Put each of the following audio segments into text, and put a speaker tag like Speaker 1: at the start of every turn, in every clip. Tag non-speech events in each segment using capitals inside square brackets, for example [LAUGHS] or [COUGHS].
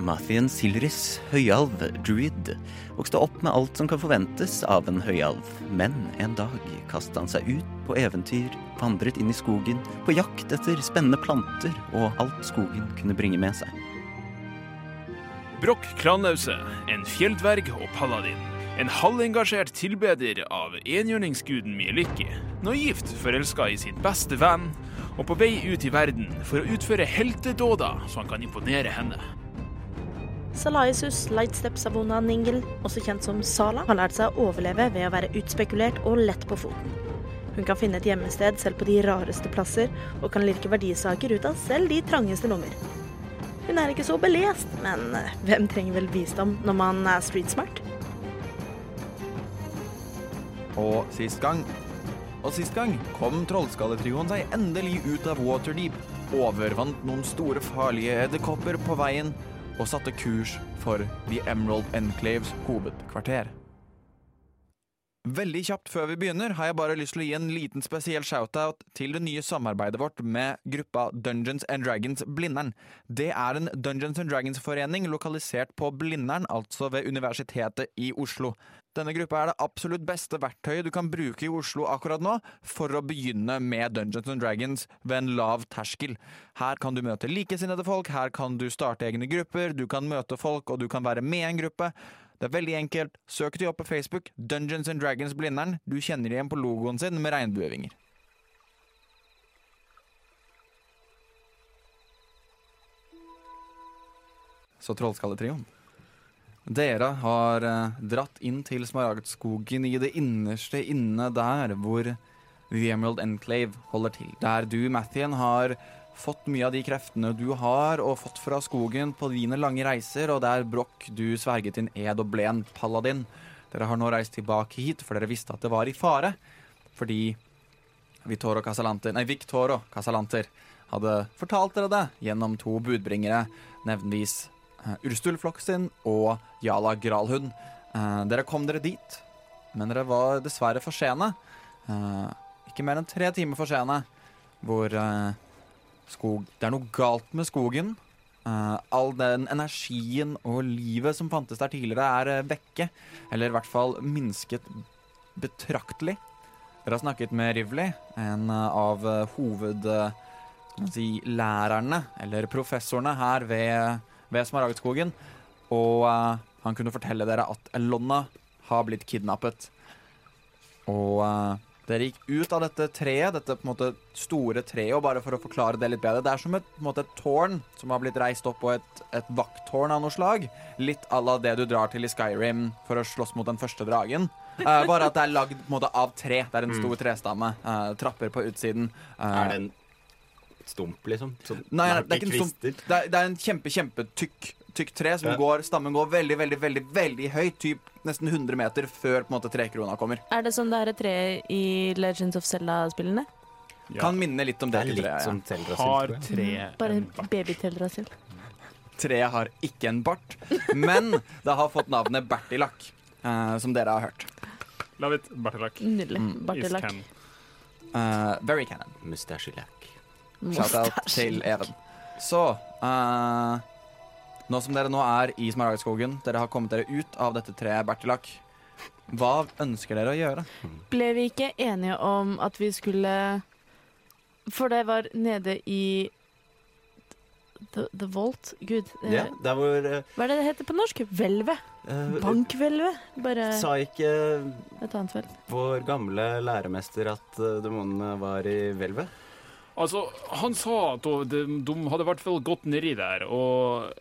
Speaker 1: Mathien Silris, høyalv, druid, vokste opp med alt som kan forventes av en høyalv, men en dag kastet han seg ut på eventyr, vandret inn i skogen, på jakt etter spennende planter og alt skogen kunne bringe med seg.
Speaker 2: Brokk Klanause, en fjelldverg og paladin. En halvengasjert tilbeder av enhjørningsguden Mielikki. Naivt forelska i sin beste venn, og på vei ut i verden for å utføre heltedåder så han kan imponere henne.
Speaker 3: Salaisus Lightstep-Savona Ningel, også kjent som Sala, har lært seg å overleve ved å være utspekulert og lett på foten. Hun kan finne et gjemmested selv på de rareste plasser, og kan lirke verdisaker ut av selv de trangeste lommer. Hun er ikke så belest, men eh, hvem trenger vel visdom når man er streetsmart?
Speaker 4: Og sist gang Og sist gang kom trollskalletrioen seg endelig ut av Waterdeep, overvant noen store farlige edderkopper på veien og satte kurs for The Emerald Enclaves hovedkvarter. Veldig kjapt før vi begynner, har jeg bare lyst til å gi en liten spesiell shoutout til det nye samarbeidet vårt med gruppa Dungeons and Dragons Blindern. Det er en Dungeons and Dragons-forening lokalisert på Blindern, altså ved Universitetet i Oslo. Denne gruppa er det absolutt beste verktøyet du kan bruke i Oslo akkurat nå for å begynne med Dungeons and Dragons ved en lav terskel. Her kan du møte likesinnede folk, her kan du starte egne grupper, du kan møte folk, og du kan være med i en gruppe. Det er veldig enkelt. Søk de opp på Facebook. Dungeons and Dragons Blindern. Du kjenner de igjen på logoen sin med regnbuevinger. Så Trollskalletrioen. Dere har eh, dratt inn til Smaragdskogen i det innerste inne der hvor The Emerald Enclave holder til. Der du, Mathien, har fått mye av de kreftene du har, og fått fra skogen på dine lange reiser, og der Broch, du sverget din ed og ble en paladin. Dere har nå reist tilbake hit, for dere visste at det var i fare. Fordi Vitoro Casalanter, nei, Victoro Casalanter hadde fortalt dere det gjennom to budbringere, nevnvis eh, Urstul Floksin og Jala Gralhund. Eh, dere kom dere dit, men dere var dessverre for sene. Eh, ikke mer enn tre timer for sene, hvor eh, skog. Det er noe galt med skogen. Eh, all den energien og livet som fantes der tidligere, er eh, vekke. Eller i hvert fall minsket betraktelig. Dere har snakket med Rivli, en eh, av eh, hoved... eh, kan man si, lærerne, eller professorene her ved, ved Smaragdskogen. Og eh, han kunne fortelle dere at Elonna har blitt kidnappet. Og eh, dere gikk ut av dette treet, dette på en måte store treet, og bare for å forklare det litt bedre Det er som et, på en måte, et tårn som har blitt reist opp, og et, et vakttårn av noe slag. Litt à la det du drar til i Skyrim for å slåss mot den første dragen. Eh, bare at det er lagd på en måte, av tre. Det er en stor trestamme. eh, trapper på utsiden.
Speaker 5: Mm.
Speaker 4: eh,
Speaker 5: Er det en stump, liksom? Som-
Speaker 4: Nei, nei, det er ikke en stump.
Speaker 5: kvister?
Speaker 4: Det er, det er en kjempe, kjempetykk tykk tre som
Speaker 5: Ja.
Speaker 4: går, stammen går veldig, veldig, veldig veldig høyt. Typ nesten 100 meter før på en måte trekrona kommer.
Speaker 6: Er det sånn det er et tre i Legends of Zelda-spillene?
Speaker 4: Kan minne litt om
Speaker 5: Det
Speaker 4: det.
Speaker 5: er
Speaker 4: til treet,
Speaker 5: litt sånn som
Speaker 4: ja.
Speaker 5: Teldra
Speaker 2: Har
Speaker 5: Silke.
Speaker 2: tre
Speaker 6: Bare
Speaker 2: en bart.
Speaker 6: babytellera selv.
Speaker 4: Treet har ikke en bart, men det har fått navnet Bertilak, eh, som dere har hørt.
Speaker 2: Love it, Bartelak.
Speaker 6: Nydelig.
Speaker 4: Mm.
Speaker 6: Bartelak.
Speaker 4: Eh, very canon.
Speaker 5: Mustasjelakk.
Speaker 4: Shout-out til Even. Så eh, Nå som dere nå er i Smaragdskogen, dere har kommet dere ut av dette treet Bertilak, hva ønsker dere å gjøre?
Speaker 6: Ble vi ikke enige om at vi skulle For det var nede i The, the Vault? Gud. eh,
Speaker 5: Ja, der hvor eh,
Speaker 6: Hva er det det heter på norsk? Hvelvet?
Speaker 5: eh,
Speaker 6: Bankhvelvet? Bare
Speaker 5: Sa ikke
Speaker 6: et annet hvelv.
Speaker 5: vår gamle læremester at eh, demonene var i hvelvet?
Speaker 7: Altså, han sa at de, de hadde i hvert fall gått nedi der, og,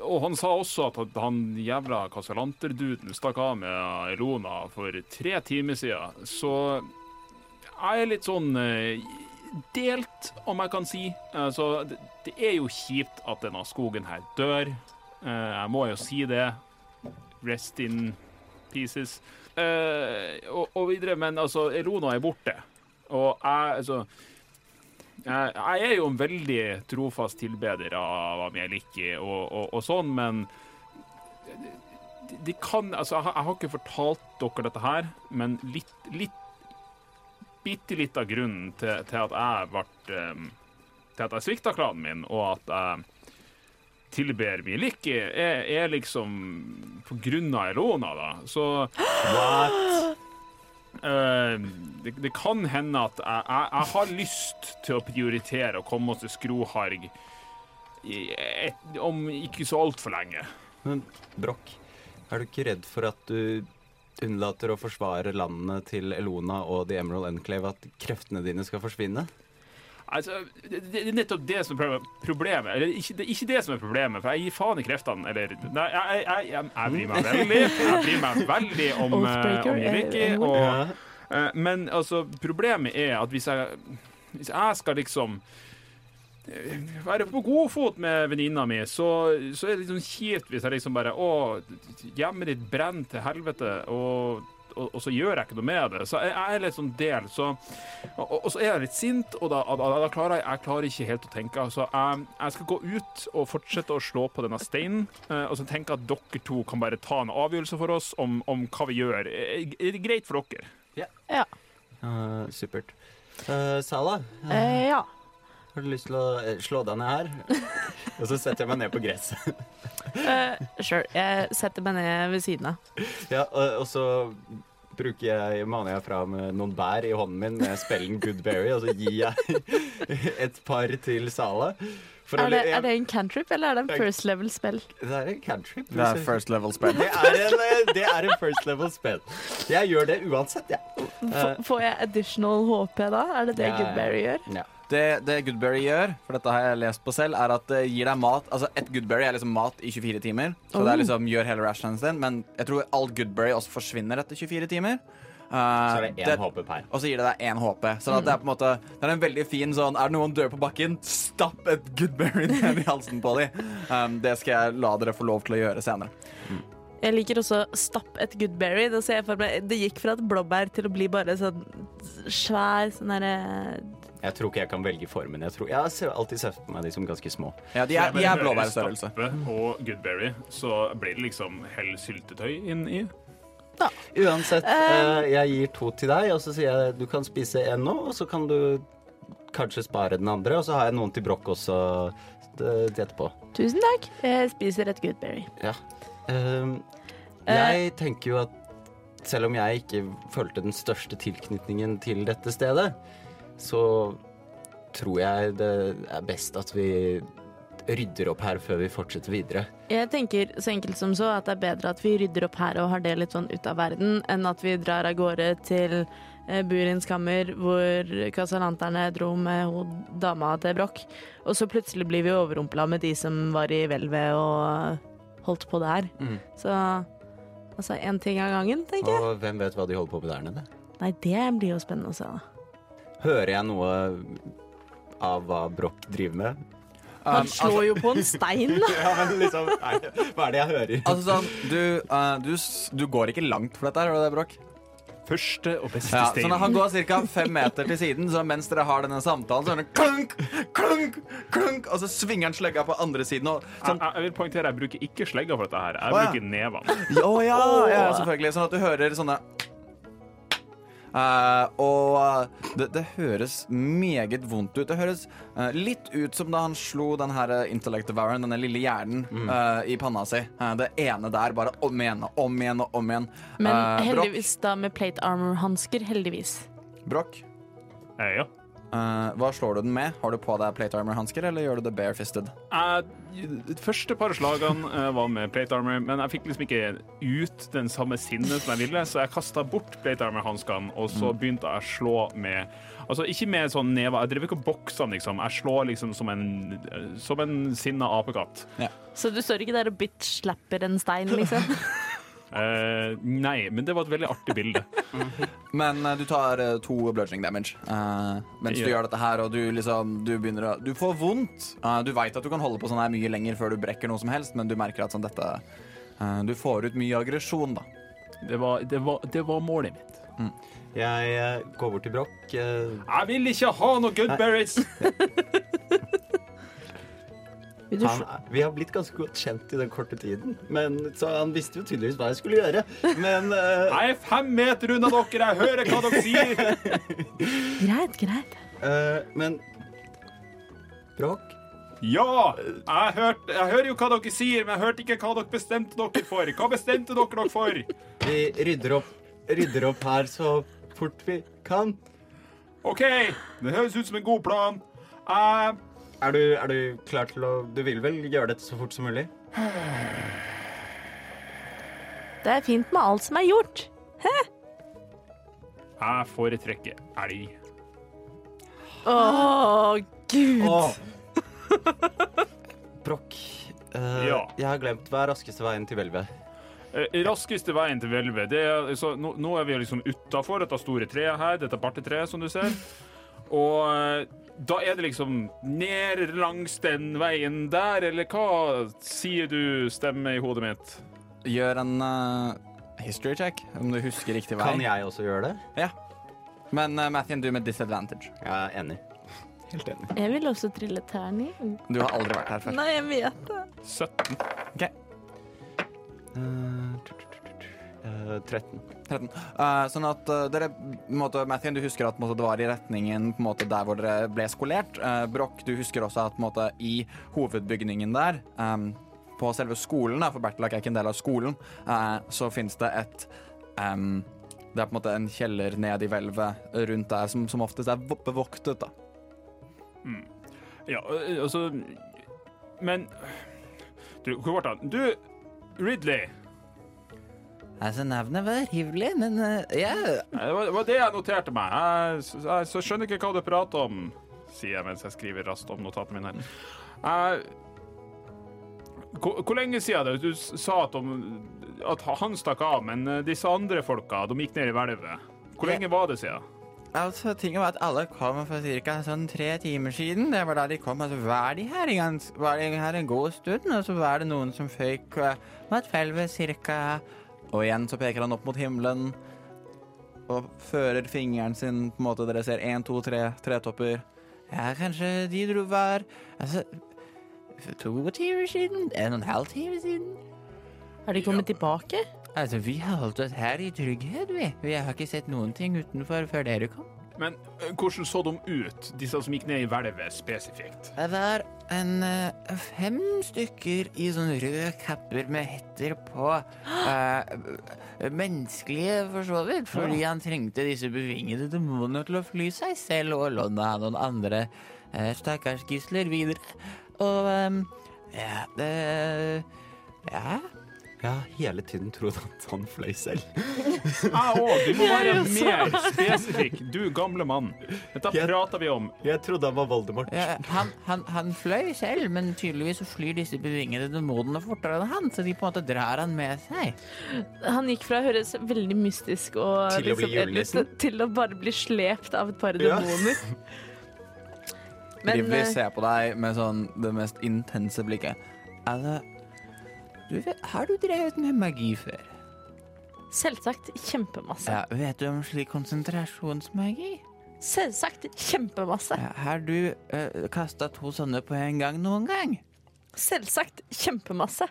Speaker 7: og han sa også at han jævla kassalanterduden stakk av med Elona for tre timer siden. Så jeg er litt sånn eh, delt, om jeg kan si. Altså, det, det er jo kjipt at denne skogen her dør. Eh, Jeg må jo si det. Rest in pieces. eh, og, og videre, men altså, Elona er borte. Og jeg, altså jeg, Eh, jeg er jo en veldig trofast tilbeder av Ameliki og, og, og sånn, men de, de kan Altså, jeg, har- jeg har ikke fortalt dere dette her, men litt, litt Bitte litt av grunnen til, til at jeg ble eh, Til at jeg svikta klanen min, og at jeg tilber Mieliki, er, er liksom på grunn av Elona, da. Så Eh, det, det kan hende at jeg, jeg, jeg har lyst til å prioritere å komme oss til Skroharg i et, om ikke så altfor lenge.
Speaker 1: Men Brokk, er du ikke redd for at du unnlater å forsvare landene til Elona og The Emerald Enclave, at kreftene dine skal forsvinne?
Speaker 7: Altså, det, det er nettopp det som er proble- problemet. Eller ikke, det er ikke det som er problemet, for jeg gir faen i kreftene. Eller Nei, jeg, jeg, jeg, jeg bryr meg veldig. Jeg bryr meg veldig om, eh,
Speaker 3: Oathbreaker
Speaker 7: om
Speaker 3: er-
Speaker 7: Ricky.
Speaker 3: er-
Speaker 7: Og, eh, men altså, problemet er at hvis jeg, hvis jeg skal liksom eh, være på god fot med venninna mi, så, så er det liksom kjipt hvis jeg liksom bare Å, hjemmet ditt brenner til helvete, og, og, og så gjør jeg ikke noe med det. Så jeg, jeg er litt sånn del, så og, og så er jeg litt sint, og da, da, da klarer jeg, jeg klarer ikke helt å tenke. Så jeg, jeg skal gå ut og fortsette å slå på denne steinen, eh, og så tenker jeg at dere to kan bare ta en avgjørelse for oss om, om hva vi gjør. Eh, Er det greit for dere?
Speaker 1: Eh, supert. Uh, Sala,
Speaker 3: Eh, ja.
Speaker 1: har du lyst til å eh, slå deg ned her? [LAUGHS] og så setter jeg meg ned på gresset. [LAUGHS]
Speaker 3: Eh, sure. Jeg setter meg ned ved siden av.
Speaker 1: ja, og, og så bruker jeg, maner jeg fram eh, noen bær i hånden min med spellen Goodberry, og så gir jeg [LAUGHS] et par til Sala. For å-
Speaker 3: Er det,
Speaker 1: jeg-
Speaker 3: er det en cantrip, eller er det en first level-spill?
Speaker 1: Det er en cantrip.
Speaker 4: Det er first level spread.
Speaker 1: Det er en, eh, det er en first level spell. Jeg gjør det uansett, jeg. Eh,
Speaker 3: F- Får jeg additional HP da? Er det det
Speaker 1: Ja, ja, ja.
Speaker 3: Goodberry gjør?
Speaker 1: Ja.
Speaker 4: Det, det Goodberry gjør, for dette har jeg lest på selv, er at det gir deg mat. Altså, Et Goodberry er liksom mat i 24 timer, så det er liksom gjør hele rationen sin. Men jeg tror all Goodberry også forsvinner etter 24 timer. Eh,
Speaker 1: Så er det én HP per.
Speaker 4: Og så gir det deg én HP. Så det er på en måte Det er en veldig fin sånn Er det noen dør på bakken, stapp et Goodberry [LAUGHS] ned i halsen på dem. Um, det skal jeg la dere få lov til å gjøre senere.
Speaker 3: Jeg liker også stapp et Goodberry. Det, ser jeg for meg. det gikk fra et blåbær til å bli bare sånn svær sånn derre
Speaker 1: Jeg tror ikke jeg kan velge formen. Jeg, tror, jeg ser alltid sett på meg de som ganske små.
Speaker 4: Ja, De er, de er
Speaker 7: Jeg bare hører
Speaker 4: blåbærstørrelse.
Speaker 7: stappe Og Goodberry, så blir det liksom hell syltetøy inn i.
Speaker 1: Uansett, eh, jeg gir to til deg, og så sier jeg du kan spise en nå, og så kan du kanskje spare den andre, og så har jeg noen til brokk også eh, til etterpå.
Speaker 3: Tusen takk. Jeg spiser et Goodberry.
Speaker 1: Ja. Ehm, jeg tenker jo at selv om jeg ikke følte den største tilknytningen til dette stedet, så tror jeg det er best at vi rydder opp her før vi fortsetter videre.
Speaker 3: Jeg tenker så enkelt som så at det er bedre at vi rydder opp her og har det litt sånn ut av verden, enn at vi drar av gårde til eh, Burins kammer, hvor kasalanterne dro med ho dama til Brokk. Og så plutselig blir vi overrumpla med de som var i hvelvet og holdt på der.
Speaker 4: Mm.
Speaker 3: Så altså én ting av gangen, tenker jeg.
Speaker 1: Og hvem vet hva de holder på med der nede?
Speaker 3: Nei, det blir jo spennende å se, da.
Speaker 1: Hører jeg noe av hva Broch driver med?
Speaker 4: Um,
Speaker 3: Han slår jo på en stein,
Speaker 4: [LAUGHS]
Speaker 3: da.
Speaker 1: Ja, men liksom, nei, hva er det jeg hører?
Speaker 4: Altså sånn, du, eh, du, s- du går ikke langt for dette, her, gjør du det, Brokk?
Speaker 7: Første og beste
Speaker 4: Ja, sånn
Speaker 7: steinen.
Speaker 4: at han går ca. fem meter til siden, så mens dere har denne samtalen, så hører han klunk, klunk, klunk, og så svinger han slegga på andre siden. Og sånn,
Speaker 7: jeg, jeg- jeg vil poengtere, jeg bruker ikke slegga for dette her. Jeg
Speaker 4: Å, ja.
Speaker 7: bruker nevene.
Speaker 4: Å ja, ja, selvfølgelig. Sånn at du hører sånne Eh, og eh, det, det høres meget vondt ut. Det høres eh, litt ut som da han slo den her eh, intellect devouren, denne lille hjernen, eh, i panna si. Eh, det ene der, bare om igjen og om igjen og om igjen.
Speaker 3: Men
Speaker 4: Eh,
Speaker 3: heldigvis da med plate armor-hansker. Heldigvis.
Speaker 4: Brokk, Brokk,
Speaker 7: Eh, Ja.
Speaker 4: eh, hva slår du den med? Har du på deg plate armor-hansker, eller gjør du det barefisted?
Speaker 7: Jeg, de første par slagene eh, var med plate armor, men jeg fikk liksom ikke ut den samme sinnet som jeg ville, så jeg kasta bort plate armor-hanskene, og så
Speaker 4: Mm.
Speaker 7: begynte jeg å slå med Altså ikke med sånn never, jeg driver ikke og bokser den, liksom. Jeg slår liksom som en, eh, som en sinna apekatt.
Speaker 3: Så du står ikke der og bitch-slapper en stein, liksom?
Speaker 7: Eh, nei, men det var et veldig artig bilde.
Speaker 4: Men eh, du tar eh, to bludging damage eh, mens du
Speaker 7: Ja.
Speaker 4: gjør dette her, og du liksom Du begynner å Du får vondt. Eh, du veit at du kan holde på sånn her mye lenger før du brekker noe som helst, men du merker at sånn dette eh, Du får ut mye aggresjon, da.
Speaker 7: Det var, det var, det var målet mitt.
Speaker 1: Jeg eh, går bort til Broch. eh,
Speaker 7: Jeg vil ikke ha noe Goodberries!
Speaker 3: [LAUGHS] Vil du
Speaker 1: han er- Vi har blitt ganske godt kjent i den korte tiden, men, så han visste jo tydeligvis hva jeg skulle gjøre. Men eh,
Speaker 7: Jeg er fem meter unna dere, jeg hører hva dere sier!
Speaker 3: sl- Greit, greit.
Speaker 1: eh, Men Broch
Speaker 7: Ja! Jeg, hørte- jeg hører jo hva dere sier, men jeg hørte ikke hva dere bestemte dere for. Hva bestemte dere dere for?
Speaker 1: Vi rydder opp, rydder opp her så fort vi kan.
Speaker 7: OK, det høres ut som en god plan. Jeg
Speaker 1: Er du, er du klar til å Du vil vel gjøre dette så fort som mulig?
Speaker 3: Det er fint med alt som er gjort.
Speaker 7: Jeg foretrekker elg.
Speaker 3: Å, gud.
Speaker 1: Åh. Broch, eh,
Speaker 7: Ja.
Speaker 1: jeg har glemt hva er raskeste veien til hvelvet.
Speaker 7: Eh, Raskeste veien til hvelvet det er, så, nå, nå er vi jo liksom utafor dette store treet her, dette bartetreet som du ser. Og eh, da er det liksom ned langs den veien der, eller hva sier du stemme i hodet mitt?
Speaker 8: Gjør en eh, history check, om du husker riktig vei.
Speaker 1: Kan jeg også gjøre det?
Speaker 8: Men
Speaker 4: eh,
Speaker 8: uh, Mathien, du med disadvantage.
Speaker 1: Jeg er enig. Helt enig.
Speaker 3: Jeg vil også trille terning.
Speaker 8: Du har aldri vært her før.
Speaker 3: Nei, jeg vet det.
Speaker 7: 17.
Speaker 1: Eh, tu- tu- tu- tu- tu. Eh, 13.
Speaker 8: 13. Eh, sånn at eh, dere, på en måte, Mathien, du husker at på en måte, det var i retningen på en måte, der hvor dere ble skolert. Uh, Broch, du husker også at på en måte, i hovedbygningen der, em, på selve skolen, da, for Bertilak er ikke en del av skolen, eh, så finnes det et em, Det er på en måte en kjeller ned i hvelvet rundt der, som, som oftest er vo- bevoktet. da.
Speaker 7: Ja, eh, altså Men Du, hvor ble han? Du, Ridley.
Speaker 4: Altså, navnet var hivelig, men jeg
Speaker 7: eh, Det var, det var det jeg noterte meg. Jeg, s- jeg, så skjønner ikke hva du prater om, sier jeg mens jeg skriver raskt om notatene mine. her. Jeg, hvor, hvor lenge siden er det du s- sa at, de, at han stakk av, men eh, disse andre folka de gikk ned i hvelvet? Hvor lenge var det siden?
Speaker 4: Altså, tingen var at alle kom for ca. sånn tre timer siden. Det var da de kom. Altså, var de her, i gans var de her en god stund? Og så var det noen som føyk uh, mot felvet ca.
Speaker 8: Og igjen så peker han opp mot himmelen og fører fingeren sin på en måte Dere ser én, to, tre tretopper.
Speaker 4: Ja, kanskje de dro var Altså for to timer siden? En og en halv time siden?
Speaker 3: Har de kommet tilbake?
Speaker 4: Altså, vi har holdt oss her i trygghet, vi. Vi har ikke sett noen ting utenfor før dere kom.
Speaker 7: Men eh, hvordan så de ut, disse som gikk ned i hvelvet spesifikt?
Speaker 4: Det var en eh, fem stykker i sånne røde kapper med hetter på. eh, menneskelige, for så vidt, fordi han trengte disse bevingede demonene til å fly seg selv og låne av noen andre eh, stakkars gisler videre. Og ehm, ja, det Ja.
Speaker 1: Jeg har hele tiden trodd at han fløy selv.
Speaker 7: Jeg òg. Du må være mer spesifikk, du gamle mann. Dette
Speaker 1: Jeg-
Speaker 7: prater vi om.
Speaker 1: Jeg trodde han var Voldemort.
Speaker 4: Ja, han, han, han fløy selv, men tydeligvis så flyr disse bevingede demonene fortere enn han, så de på en måte drar han med seg.
Speaker 3: Han gikk fra å høres veldig mystisk og
Speaker 1: Til å bli julenissen?
Speaker 3: litt- til å bare bli slept av et par
Speaker 1: Ja. [LAUGHS]
Speaker 3: demoner. Men
Speaker 8: Rivli
Speaker 3: eh,
Speaker 8: ser på deg med sånn det mest intense blikket.
Speaker 4: Altså, du, vet- har du drevet med magi før?
Speaker 3: selvsagt kjempemasse.
Speaker 4: Ja, vet du om slik konsentrasjonsmagi?
Speaker 3: Selvsagt kjempemasse.
Speaker 4: Ja, har du uh, kasta to sånne på en gang noen gang?
Speaker 3: Selvsagt kjempemasse.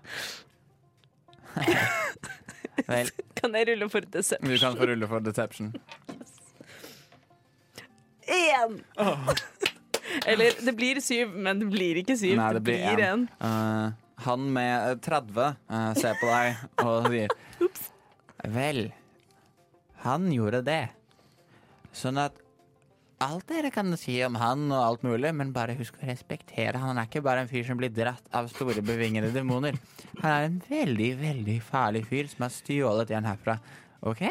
Speaker 4: Vel,
Speaker 3: Kan jeg rulle for
Speaker 8: Du
Speaker 3: deception?
Speaker 8: kan få rulle for deception.
Speaker 3: Én! [LAUGHS] Eller det blir syv, men det blir ikke syv.
Speaker 8: Nei, det
Speaker 3: det
Speaker 8: blir
Speaker 3: blir
Speaker 8: en.
Speaker 3: én.
Speaker 8: Eh, han med eh, 30 eh, ser på deg og sier
Speaker 4: vel. Han gjorde det. Sånn at alt dere kan si om han og alt mulig, men bare husk å respektere han. Han er ikke bare en fyr som blir dratt av store, bevingede demoner. Han er en veldig, veldig farlig fyr som har stjålet en herfra. OK?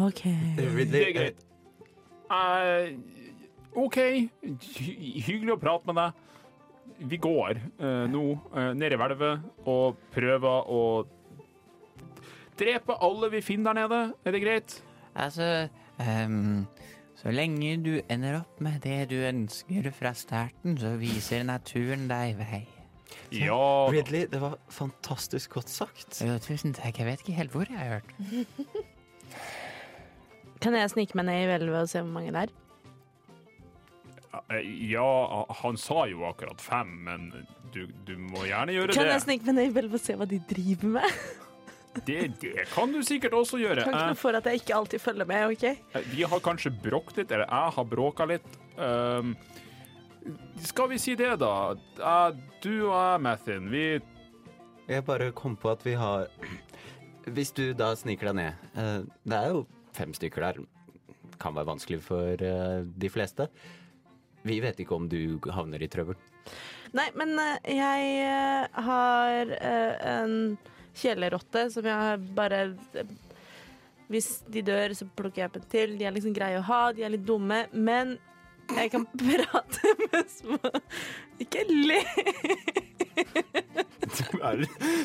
Speaker 3: OK.
Speaker 7: Det er greit. Eh, OK, Hy hyggelig å prate med deg. Vi går eh, nå eh, ned i hvelvet og prøver å drepe alle vi finner der nede. Er det greit?
Speaker 4: Altså ehm, Så lenge du ender opp med det du ønsker fra starten, så viser naturen deg vei.
Speaker 7: Ja
Speaker 1: Ridley, det var fantastisk godt sagt.
Speaker 9: tusen takk. Jeg vet ikke helt hvor jeg har hørt.
Speaker 3: Kan jeg snike meg ned i hvelvet og se hvor mange det er?
Speaker 7: Eh, Ja, han sa jo akkurat fem, men du, du må gjerne gjøre
Speaker 3: Kan jeg
Speaker 7: det.
Speaker 3: snike meg ned i hvelvet og se hva de driver med?
Speaker 7: det. Det kan du sikkert også
Speaker 3: [LAUGHS]
Speaker 7: gjøre.
Speaker 3: Kan ikke
Speaker 7: Eh,
Speaker 3: noe for at jeg ikke alltid følger med, OK?
Speaker 7: eh, Vi har kanskje bråkt litt, eller jeg har bråka litt. Ehm, skal vi si det, da? Eh, Du og jeg, Mathin, vi
Speaker 1: Jeg bare kom på at vi har Hvis du da sniker deg ned eh, Det er jo fem stykker der. Kan være vanskelig for eh, de fleste. Vi vet ikke om du havner i [LAUGHS] trøbbel.
Speaker 3: Nei, men eh, jeg eh, har eh, en kjelerotte som jeg bare eh, Hvis de dør, så plukker jeg opp en til. De er liksom greie å ha, de er litt dumme, men jeg kan [LAUGHS] prate med små Ikke le!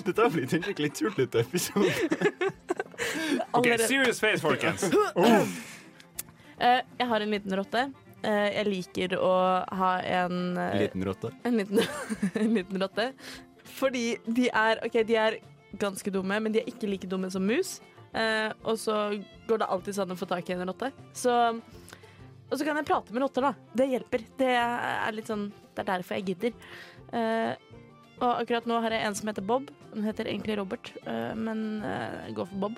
Speaker 1: Dette har blitt en skikkelig tullete episode.
Speaker 7: OK,
Speaker 3: Allerede-
Speaker 7: serious face, folkens.
Speaker 3: [LAUGHS] Eh, jeg har en liten rotte. Eh, jeg liker å ha en eh,
Speaker 1: [LAUGHS] Liten rotte.
Speaker 3: En liten, [LAUGHS] en liten rotte. Fordi de er, ok, de er ganske dumme, men de er ikke like dumme som mus. Eh, og så går det alltid sånn å få tak i en rotte. Så, og så kan jeg prate med rotter, da. Det hjelper. Det er litt sånn, det er derfor jeg gidder. Eh, og akkurat nå har jeg en som heter Bob. Den heter egentlig Robert, eh, men eh, jeg går for Bob.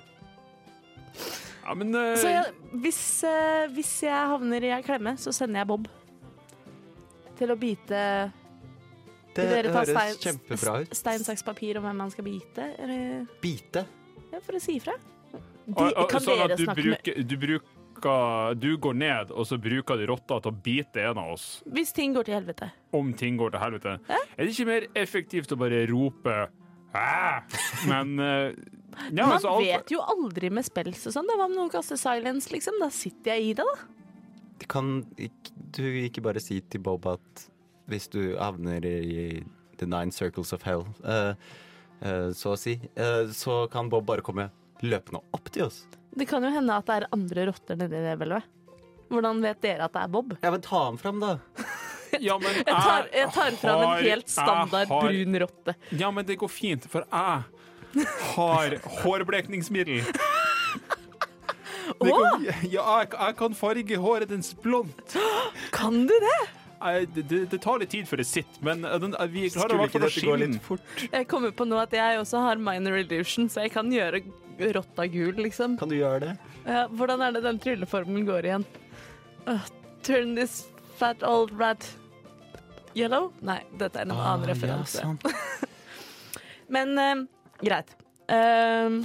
Speaker 7: Ja, men eh,
Speaker 3: Så jeg, hvis, eh, hvis jeg havner i ei klemme, så sender jeg Bob til å bite
Speaker 1: Det
Speaker 3: Vil dere ta
Speaker 1: høres
Speaker 3: stein-
Speaker 1: kjempebra ut.
Speaker 3: Stein, saks, papir om hvem man skal bite, eller
Speaker 1: Bite.
Speaker 3: ja, for å si ifra. De,
Speaker 7: og- og
Speaker 3: kan
Speaker 7: sånn
Speaker 3: dere
Speaker 7: at du
Speaker 3: snakke
Speaker 7: bruker, du bruker Du går ned, og så bruker du rotta til å bite en av oss
Speaker 3: med Hvis ting går til helvete.
Speaker 7: om ting går til helvete. Er det ikke mer effektivt å bare rope «Æ!» Men eh, ja,
Speaker 3: Man
Speaker 7: altså, alt-
Speaker 3: vet jo aldri med spels og sånn. da. Hva om noen kaster silence, liksom? Da sitter jeg i det, da.
Speaker 1: Det Kan ikk- du ikke bare si til Bob at hvis du havner i The Nine Circles of Hell, eh, eh, så å si, eh, så kan Bob bare komme løpende opp til oss?
Speaker 3: Det kan jo hende at det er andre rotter nedi det hvelvet. Hvordan vet dere at det er Bob?
Speaker 1: Ja, men ta ham fram, da.
Speaker 7: ja, men
Speaker 3: Jeg tar, jeg tar fram en
Speaker 7: har-
Speaker 3: helt standard
Speaker 7: jeg har-
Speaker 3: brun rotte.
Speaker 7: Ja, men det går fint, for jeg har hårblekningsmiddel.
Speaker 3: [LAUGHS]
Speaker 7: Det går, ja, jeg, jeg kan farge håret dens blondt.
Speaker 3: Kan du det?
Speaker 7: Jeg- Det, det tar litt tid før det sitter, men eh, den, vi klarer i
Speaker 1: Skulle
Speaker 7: hvert
Speaker 1: ikke
Speaker 7: fall å
Speaker 1: dette gå
Speaker 7: skinne.
Speaker 1: litt fort?
Speaker 3: Jeg kommer på nå at jeg også har minor illusion, så jeg kan gjøre rotta gul, liksom.
Speaker 1: Kan du gjøre det?
Speaker 3: Ja, hvordan er det den trylleformelen går igjen? Åh, turn this fat old rat Yellow? Nei, dette er en
Speaker 1: Ah,
Speaker 3: annen referanse. Men eh, greit. Eh,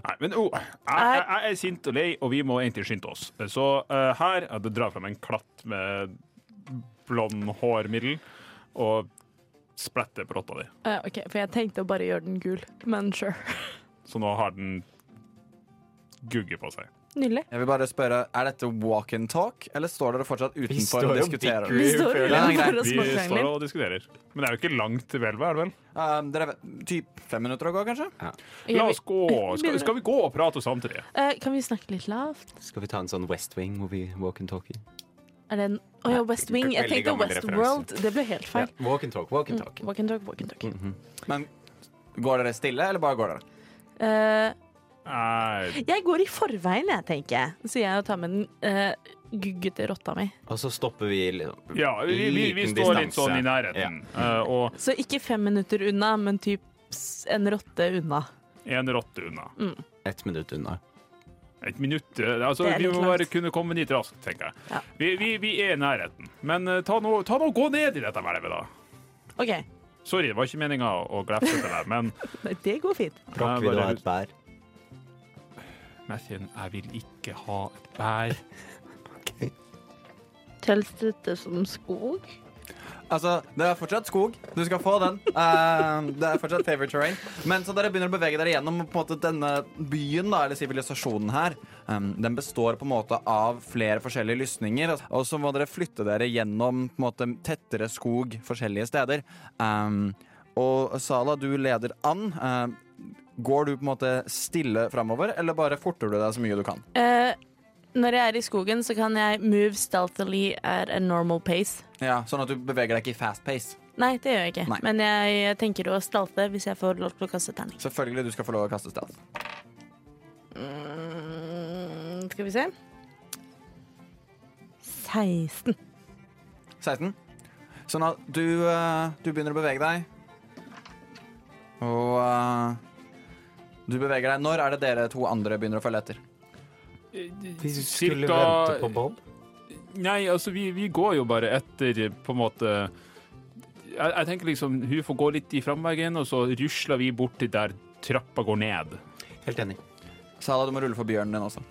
Speaker 7: Nei, men oh, jeg, jeg, jeg er sint og lei, og vi må egentlig skynde oss. Så eh, her ja, Det drar fram en klatt med blond hårmiddel og spretter på rotta di.
Speaker 3: eh, OK, for jeg tenkte å bare gjøre den gul, men sure.
Speaker 7: Så nå har den gugge på seg.
Speaker 3: Nydelig.
Speaker 8: Jeg vil bare spørre, Er dette walk and talk, eller står dere fortsatt utenfor og diskuterer?
Speaker 3: Vi står
Speaker 8: det er greit.
Speaker 3: utenfor og
Speaker 7: Vi står
Speaker 3: småkrangler.
Speaker 7: og diskuterer. Men det er jo ikke langt til hvelvet, er det vel?
Speaker 8: Eh, dere vet, typ fem minutter å gå, kanskje?
Speaker 7: La oss
Speaker 8: [LAUGHS]
Speaker 7: gå. Skal, skal vi gå og prate samtidig?
Speaker 3: Eh, kan vi snakke litt lavt?
Speaker 1: Skal vi ta en sånn West Wing hvor vi walk and talkie?
Speaker 3: Er det en Å ja, West Wing. Jeg
Speaker 1: Veldig
Speaker 3: tenkte
Speaker 1: gammel
Speaker 3: Westworld. Det ble helt feil. Mm,
Speaker 1: Walk and talk, walk and talk.
Speaker 3: Walk and talk, walk and talk.
Speaker 1: Mhm.
Speaker 8: Men går dere stille, eller bare går dere?
Speaker 3: Eh,
Speaker 7: Nei,
Speaker 3: jeg går i forveien, jeg, tenker jeg. Så jeg tar med den eh, guggete rotta mi.
Speaker 1: Og så stopper vi liksom
Speaker 7: ja, vi, vi, vi
Speaker 1: Liten
Speaker 7: står litt
Speaker 1: distanse.
Speaker 7: sånn i nærheten. eh, og
Speaker 3: Så ikke fem minutter unna, men typ s- en rotte unna.
Speaker 7: en rotte unna.
Speaker 1: ett minutt unna.
Speaker 7: Et minutt eh, altså,
Speaker 3: Det er
Speaker 7: Vi
Speaker 3: litt
Speaker 7: må
Speaker 3: langt.
Speaker 7: bare kunne komme dit raskt, tenker jeg.
Speaker 3: Ja.
Speaker 7: Vi, vi, vi er i nærheten. Men eh, ta nå, ta nå gå ned i dette hvelvet, da.
Speaker 3: OK,
Speaker 7: Sorry, det var ikke meninga å glefse til deg,
Speaker 1: [LAUGHS]
Speaker 7: men
Speaker 3: Nei, det går fint.
Speaker 1: Brokk vil du ha et bær?
Speaker 7: Mathin, jeg vil ikke ha et bær.
Speaker 3: Telles dette som skog?
Speaker 8: Altså, Det er fortsatt skog. Du skal få den. Eh, det er fortsatt favorite terrain. Men så dere begynner å bevege dere gjennom på en måte, denne byen, da, eller sivilisasjonen her. Um, den består på en måte av flere forskjellige lysninger. Og så må dere flytte dere gjennom på en måte, tettere skog forskjellige steder. Um, og Sala, du leder an. Um, går du på en måte stille framover, eller bare forter du deg så mye du kan?
Speaker 3: Eh, når jeg er i skogen, så kan jeg move stealthily at a normal pace.
Speaker 8: Ja, Sånn at du beveger deg ikke i fast pace.
Speaker 3: Nei, det gjør jeg ikke.
Speaker 8: Nei.
Speaker 3: Men jeg tenker å stalte hvis jeg får lov til å kaste terning.
Speaker 8: Selvfølgelig du skal få lov å kaste stealth.
Speaker 3: Mm, skal vi se 16.
Speaker 8: 16. Sånn at du, eh, du begynner å bevege deg. Og eh, du beveger deg. Når er det dere to andre begynner å følge etter?
Speaker 1: [LAUGHS] Vi skulle
Speaker 7: Eh, Cirka-
Speaker 1: vente på Bob.
Speaker 7: Nei, altså, vi, vi går jo bare etter, eh, på en måte jeg, jeg tenker liksom, hun får gå litt i framveggen, og så rusler vi bort til der trappa går ned.
Speaker 1: Helt enig.
Speaker 8: Sala, du må rulle for bjørnen din også.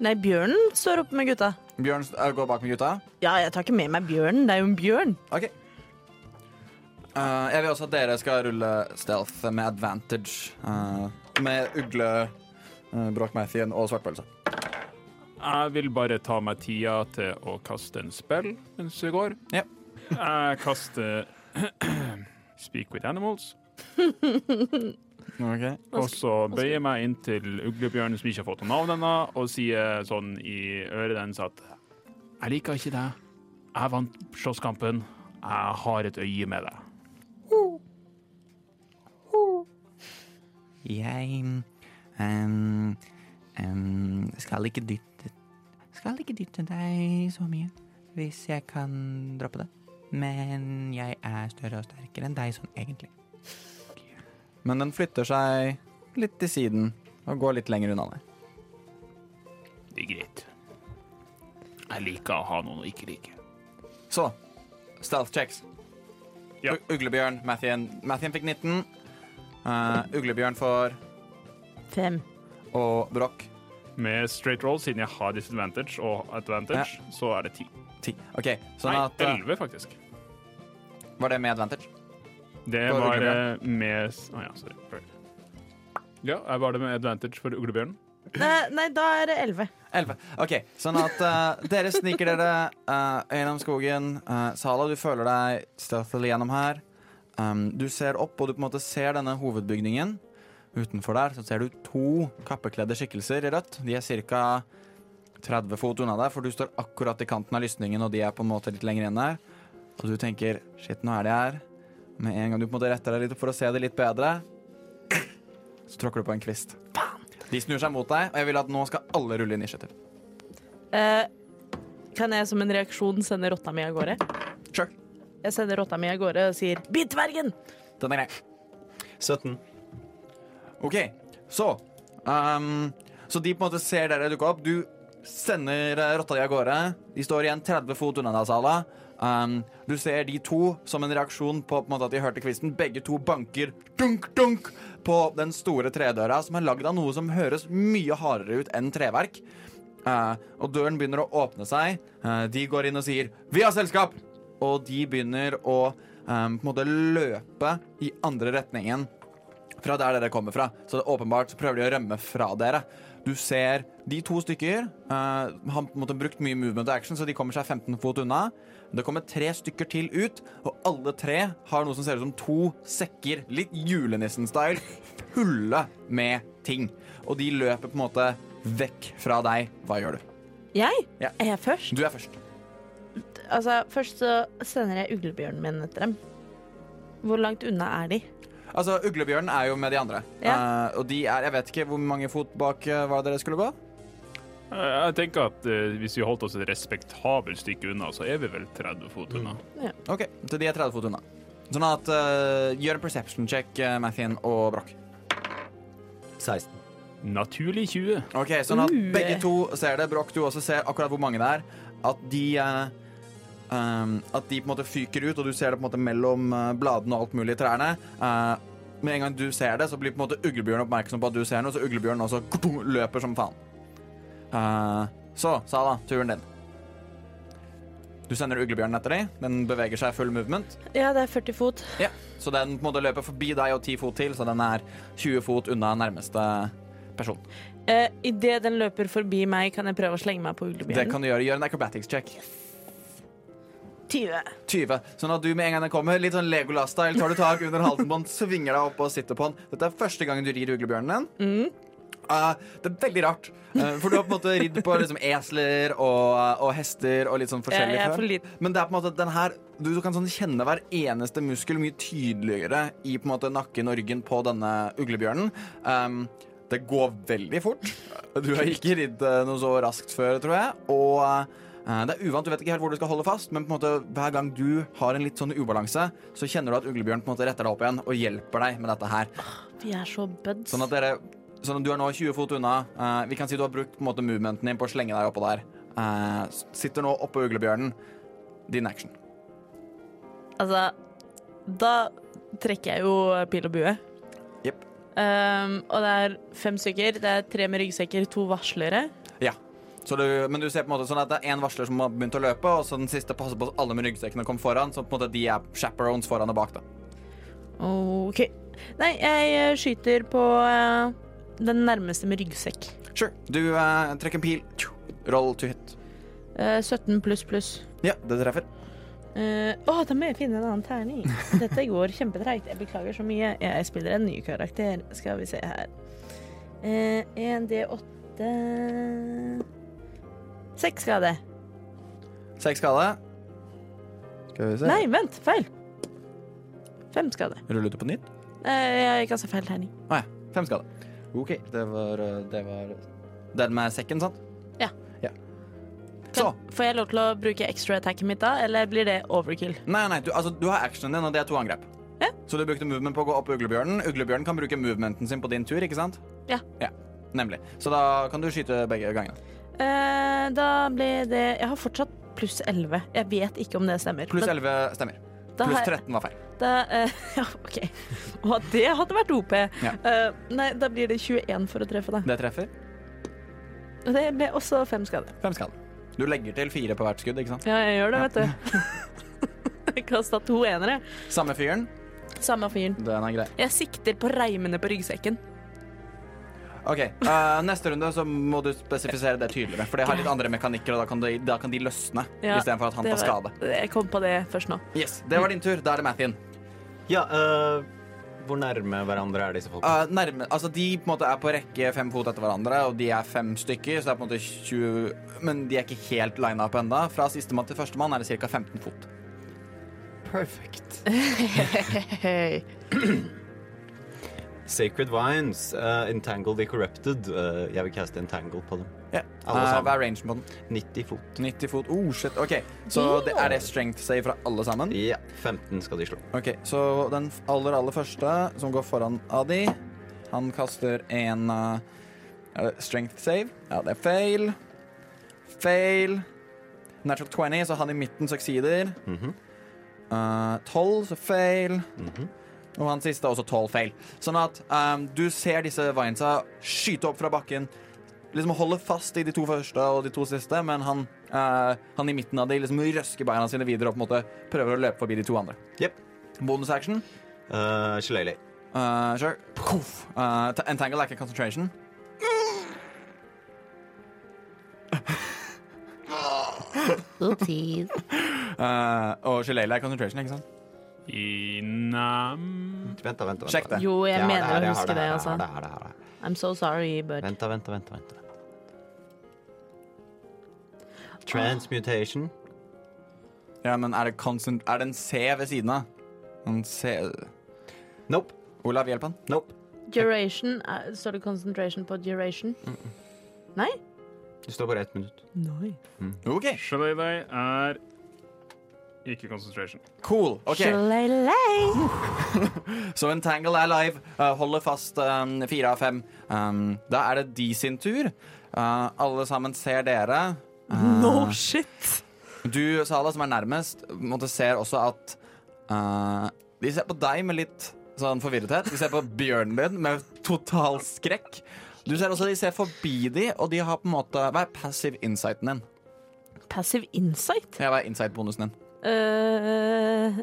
Speaker 3: Nei, bjørnen står oppe med gutta.
Speaker 8: Bjørn eh, går bak med gutta.
Speaker 3: Ja, jeg tar ikke med meg bjørnen. Det er jo en bjørn.
Speaker 8: OK. Eh, jeg vil også at dere skal rulle stealth med advantage. eh, med ugle, uh, Brochmathien og svartpølse.
Speaker 7: Jeg vil bare ta meg tida til å kaste en spill mens vi går.
Speaker 8: Ja.
Speaker 7: Jeg kaster [CLEARS THROAT] Speak with animals,
Speaker 8: Okay.
Speaker 7: og så bøyer jeg meg inn til uglebjørnen som ikke har fått noe navn ennå, og sier sånn i øret dens at Jeg liker ikke deg. Jeg vant slåsskampen. Jeg har et øye med deg.
Speaker 9: Jeg ehm, ehm, skal ikke dytte Skal ikke dytte deg så mye hvis jeg kan droppe det. Men jeg er større og sterkere enn deg sånn egentlig.
Speaker 8: Men den flytter seg litt til siden og går litt lenger unna deg.
Speaker 7: Det er greit. Jeg liker å ha noen å ikke like.
Speaker 8: Så, stealth checks.
Speaker 7: Ja.
Speaker 8: U- Uglebjørn, Mathien. Mathien fikk 19. Eh, uglebjørn får,
Speaker 3: Fem.
Speaker 8: og Broch
Speaker 7: Med straight roll, siden jeg har disadvantage og advantage, så er det ti.
Speaker 8: 10. OK, sånn
Speaker 7: Nei,
Speaker 8: at eh,
Speaker 7: elleve, faktisk.
Speaker 8: Var det med advantage?
Speaker 7: Det
Speaker 8: For
Speaker 7: var
Speaker 8: uglebjørn.
Speaker 7: eh, med s- Å ja, sorry. Sorry. Ja, jeg var det med advantage for uglebjørnen.
Speaker 3: Nei, nei, da er det elleve.
Speaker 8: 11. OK, sånn at eh, dere sniker dere eh, gjennom skogen. Eh, Sala, du føler deg stealthily gjennom her. Um, du ser opp, og du på en måte ser denne hovedbygningen. Utenfor der så ser du to kappekledde skikkelser i rødt. De er ca. 30 fot unna deg, for du står akkurat i kanten av lysningen, og de er på en måte litt lenger inn der. Og du tenker 'shit, nå er de her'. Med en gang du på en måte retter deg litt opp for å se det litt bedre, så tråkker du på en kvist. De snur seg mot deg, og jeg vil at nå skal alle rulle initiativ.
Speaker 3: Eh, kan jeg som en reaksjon sende rotta mi av gårde?
Speaker 8: Sure.
Speaker 3: Jeg sender rotta mi av gårde og sier 'bit dvergen'!
Speaker 8: Den er grei.
Speaker 1: 17.
Speaker 8: OK, så ehm, Så de på en måte ser dere dukke opp. Du sender eh, rotta di av gårde. De står igjen 30 fot unna deg, Sala. Ehm, du ser de to som en reaksjon på, på en måte at de hørte kvisten. Begge to banker dunk, dunk på den store tredøra, som er lagd av noe som høres mye hardere ut enn treverk. Eh, og døren begynner å åpne seg. Eh, de går inn og sier 'Vi har selskap!' Og de begynner å eh, på en måte løpe i andre retningen fra der dere kommer fra. Så det er åpenbart så prøver de å rømme fra dere. Du ser de to stykker. eh, han på en måte har brukt mye movement og action, så de kommer seg 15 fot unna. Det kommer tre stykker til ut, og alle tre har noe som ser ut som to sekker, litt julenissen-style, fulle med ting. Og de løper på en måte vekk fra deg. Hva gjør du?
Speaker 3: Jeg?
Speaker 8: Ja.
Speaker 3: Er jeg først?
Speaker 8: Du er først.
Speaker 3: Altså, først så sender jeg uglebjørnen min etter dem. Hvor langt unna er de?
Speaker 8: Altså, Uglebjørnen er jo med de andre.
Speaker 3: Ja.
Speaker 8: Eh, og de er Jeg vet ikke hvor mange fot bak eh, hva dere skulle gå.
Speaker 7: Eh, Jeg tenker at eh, hvis vi holdt oss et respektabelt stykke unna, så er vi vel 30 fot unna.
Speaker 8: Ok, Så de er 30 fot unna. Sånn at eh, Gjør en perception check, uh, Mathien og Broch.
Speaker 1: 16.
Speaker 7: Naturlig 20.
Speaker 8: Ok, Sånn at
Speaker 3: Uh.
Speaker 8: begge to ser det. Broch, du også ser akkurat hvor mange det er. At de eh, um, At de på en måte fyker ut, og du ser det på en måte mellom eh, bladene og alt mulig i trærne. Eh, med en gang du ser det, så blir på en måte uglebjørn oppmerksom på at du ser noe, så uglebjørnen også kutung, løper som faen. Eh, så, Sala, turen din. Du sender uglebjørnen etter dem. Den beveger seg full movement.
Speaker 3: Ja, det er 40 fot.
Speaker 8: Ja, så den på en måte løper forbi deg og ti fot til, så den er 20 fot unna nærmeste person.
Speaker 3: Eh, Idet den løper forbi meg, kan jeg prøve å slenge meg på
Speaker 8: Det
Speaker 3: uglebjørnen.
Speaker 8: kan du gjøre. Gjør en acrobatics check.
Speaker 3: 20.
Speaker 8: 20. Sånn at du med en gang den kommer, litt sånn Legolas-style, tar du tak under halsen på den, svinger deg opp og sitter på den. Dette er første gangen du rir uglebjørnen din. eh, det er veldig rart. Eh, for du har på en måte ridd på liksom, esler og, eh, og hester og litt sånn
Speaker 3: Jeg, Eh,
Speaker 8: forskjellig
Speaker 3: jeg er
Speaker 8: før.
Speaker 3: for liten.
Speaker 8: Men det er på en måte den her Du kan sånn kjenne hver eneste muskel mye tydeligere i på en måte nakken og ryggen på denne uglebjørnen. Um, det går veldig fort. Du har ikke ridd eh, noe så raskt før, tror jeg. Og eh, det er uvant, du vet ikke helt hvor du skal holde fast, men på en måte hver gang du har en litt sånn ubalanse, så kjenner du at uglebjørnen på en måte retter deg opp igjen og hjelper deg med dette her.
Speaker 3: Vi er så buds.
Speaker 8: Sånn at dere Sånn at du er nå 20 fot unna. Eh, vi kan si du har brukt på en måte movementen din på å slenge deg oppå der. Eh, s- sitter nå oppå uglebjørnen. Din action.
Speaker 3: Altså, da trekker jeg jo pil og bue.
Speaker 8: Jepp.
Speaker 3: Ehm, og det er fem stykker. Det er tre med ryggsekker, to varslere.
Speaker 8: Så du, men du ser på en måte sånn at det er en varsler som har begynt å løpe, og så den siste passer på at alle med ryggsekkene kommer foran. Så på en måte de er chaperones foran og bak. da.
Speaker 3: OK. Nei, jeg eh, skyter på eh, den nærmeste med ryggsekk.
Speaker 8: Sure. Du eh, trekker en pil. Tju. Roll to hit.
Speaker 3: Eh, 17 pluss pluss.
Speaker 8: Ja, det treffer.
Speaker 3: Eh, Å, da må jeg finne en annen terning. Dette går kjempetreigt. Jeg beklager så mye. Jeg spiller en ny karakter. Skal vi se her. Eh, 1D8 Seks skade.
Speaker 8: Seks skade. Skal vi se.
Speaker 3: Nei, vent. Feil. Fem skade.
Speaker 8: Ruller du på nytt?
Speaker 3: Eh, jeg kasta feil terning.
Speaker 8: Å ja. Fem skade. OK. Det var eh, Det var Den med sekken, sant?
Speaker 3: Ja.
Speaker 8: ja. Så.
Speaker 3: Kan, får jeg lov til å bruke extra attacken mitt da, eller blir det overkill?
Speaker 8: Nei, nei, du, altså, du har actionen din, og det er to angrep.
Speaker 3: Ja.
Speaker 8: Så du brukte movement på å gå opp uglebjørnen. Uglebjørnen kan bruke movementen sin på din tur, ikke sant?
Speaker 3: Ja.
Speaker 8: Nemlig. Så da kan du skyte begge gangene.
Speaker 3: Eh, da blir det Jeg har fortsatt pluss 11. Jeg vet ikke om det stemmer.
Speaker 8: Pluss
Speaker 3: men
Speaker 8: 11 stemmer.
Speaker 3: da
Speaker 8: Pluss
Speaker 3: har jeg-
Speaker 8: 13 var feil.
Speaker 3: Da, eh, [LAUGHS] ja, OK. Og det hadde vært OP.
Speaker 8: Ja.
Speaker 3: Eh, nei, da blir det 21 for å treffe deg.
Speaker 8: Det treffer.
Speaker 3: Og det ble også fem skader.
Speaker 8: Fem skade. Du legger til fire på hvert skudd, ikke sant?
Speaker 3: Ja, jeg gjør det,
Speaker 8: [LAUGHS]
Speaker 3: vet du. Jeg Kasta to enere.
Speaker 8: Samme fyren.
Speaker 3: Samme fyren.
Speaker 8: Den er grei.
Speaker 3: Jeg sikter på reimene på ryggsekken.
Speaker 8: OK. eh, neste runde så må du spesifisere det tydeligere, for det har litt andre mekanikker, og da kan de, da kan de løsne
Speaker 3: Ja,
Speaker 8: istedenfor at han
Speaker 3: det
Speaker 8: tar
Speaker 3: var-
Speaker 8: skade.
Speaker 3: Jeg kom på det først nå.
Speaker 8: Yes, Det var din tur. Da er det Mathien.
Speaker 1: Ja, øh, hvor nærme hverandre er disse folkene?
Speaker 8: Eh, nærme, altså De på en måte er på rekke fem fot etter hverandre, og de er fem stykker. Så det er på en måte 20 Men de er ikke helt lina opp ennå. Fra sistemann til førstemann er det ca. 15 fot.
Speaker 1: Perfect.
Speaker 3: Hei.
Speaker 1: [LAUGHS] Sacred Vines, øh, Entangled the Corrupted. Øh, jeg vil caste Entangle på dem.
Speaker 8: Ja.
Speaker 1: Alle
Speaker 8: Eh,
Speaker 1: sammen.
Speaker 8: hva er rangen på den?
Speaker 1: 90 fot.
Speaker 8: 90 fot. Oh, shit. OK, så det, er det strength save fra alle sammen?
Speaker 1: Ja, 15 skal de slå.
Speaker 8: Ok, Så den f- aller, aller første, som går foran av de, han kaster en eh, er det strength save. Ja, det er fail. Fail. Natural 20, så han i midten succeeder.
Speaker 1: Mhm.
Speaker 8: Eh, 12, så fail.
Speaker 1: Mhm.
Speaker 8: Og han siste er også 12 feil. Sånn at ehm, du ser disse vinesa skyte opp fra bakken. Liksom holde fast i de to første og de to siste, men han, eh, han i midten av de liksom røsker beina sine videre og på en måte prøver å løpe forbi de to andre.
Speaker 1: Jep.
Speaker 8: Bonus action.
Speaker 1: Øh, Shillelagh.
Speaker 8: Eh, sure. Puff. Eh, ta- entangle er ikke concentration.
Speaker 3: Oopsies.
Speaker 8: Eh, og Shillelagh er concentration, ikke sant?
Speaker 7: I nam...
Speaker 1: Vent, da, vent, da. vent da.
Speaker 8: Sjekk det.
Speaker 3: Jo, jeg
Speaker 1: har
Speaker 3: mener
Speaker 1: her,
Speaker 3: å
Speaker 1: jeg har
Speaker 3: huske det,
Speaker 1: her, jeg har
Speaker 3: altså.
Speaker 1: det her, jeg har det her.
Speaker 3: I'm so sorry, but
Speaker 1: Vent, da, vent, da, vent, da, vent. da. Transmutation.
Speaker 8: Ja, men er det, concent er det en C ved siden av? En C
Speaker 1: Nope.
Speaker 8: Olav, hjelp han.
Speaker 1: Nope.
Speaker 3: duration er- Står det concentration på duration?
Speaker 1: Du står bare ett minutt.
Speaker 3: Nei.
Speaker 8: OK,
Speaker 7: Shalaylay er ikke concentration.
Speaker 8: cool. ok
Speaker 3: Shalelei.
Speaker 8: Så Entangle er live. eh, holder fast um, fire av fem. Um, da er det de sin tur. Eh, alle sammen ser dere. Eh,
Speaker 3: No shit.
Speaker 8: Du, Sala, som er nærmest, måtte ser også at eh, De ser på deg med litt sånn forvirrethet. De ser på bjørnen din med total skrekk. Du ser også De ser forbi de, og de har på en måte Hva er passive insighten din?
Speaker 3: Passive insight?
Speaker 8: Ja, hva er insight-bonusen din?
Speaker 3: Uh,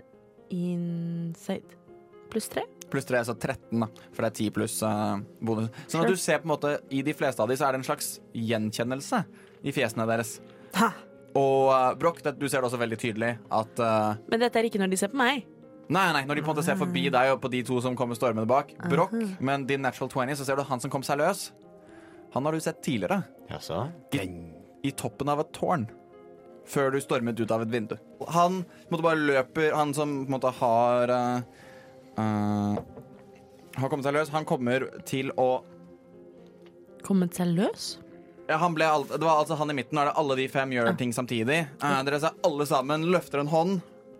Speaker 3: insight pluss tre?
Speaker 8: Pluss 3, så 13, da. For det er 10 pluss eh, bonus. Sånn
Speaker 3: Sure.
Speaker 8: at du ser på en måte I de fleste av de så er det en slags gjenkjennelse i fjesene deres.
Speaker 3: Ha.
Speaker 8: Og eh, Broch, det, du ser det også veldig tydelig at eh,
Speaker 3: Men dette er ikke når de ser på meg.
Speaker 8: Nei, nei, når de på en måte ser forbi deg og på de to som kommer stormende bak. Broch, men din natural 20, så ser du han som kom seg løs. Han har du sett tidligere.
Speaker 1: Jaså?
Speaker 8: i toppen av et tårn før du stormet ut av et vindu. Han på en måte bare løper Han som på en måte har eh, eh, Har kommet seg løs. Han kommer til å
Speaker 3: Kommet seg løs?
Speaker 8: ja, han ble alt, Det var altså han i midten. Nå er det alle de fem gjør ting samtidig. Eh, dere ser alle sammen løfter en hånd.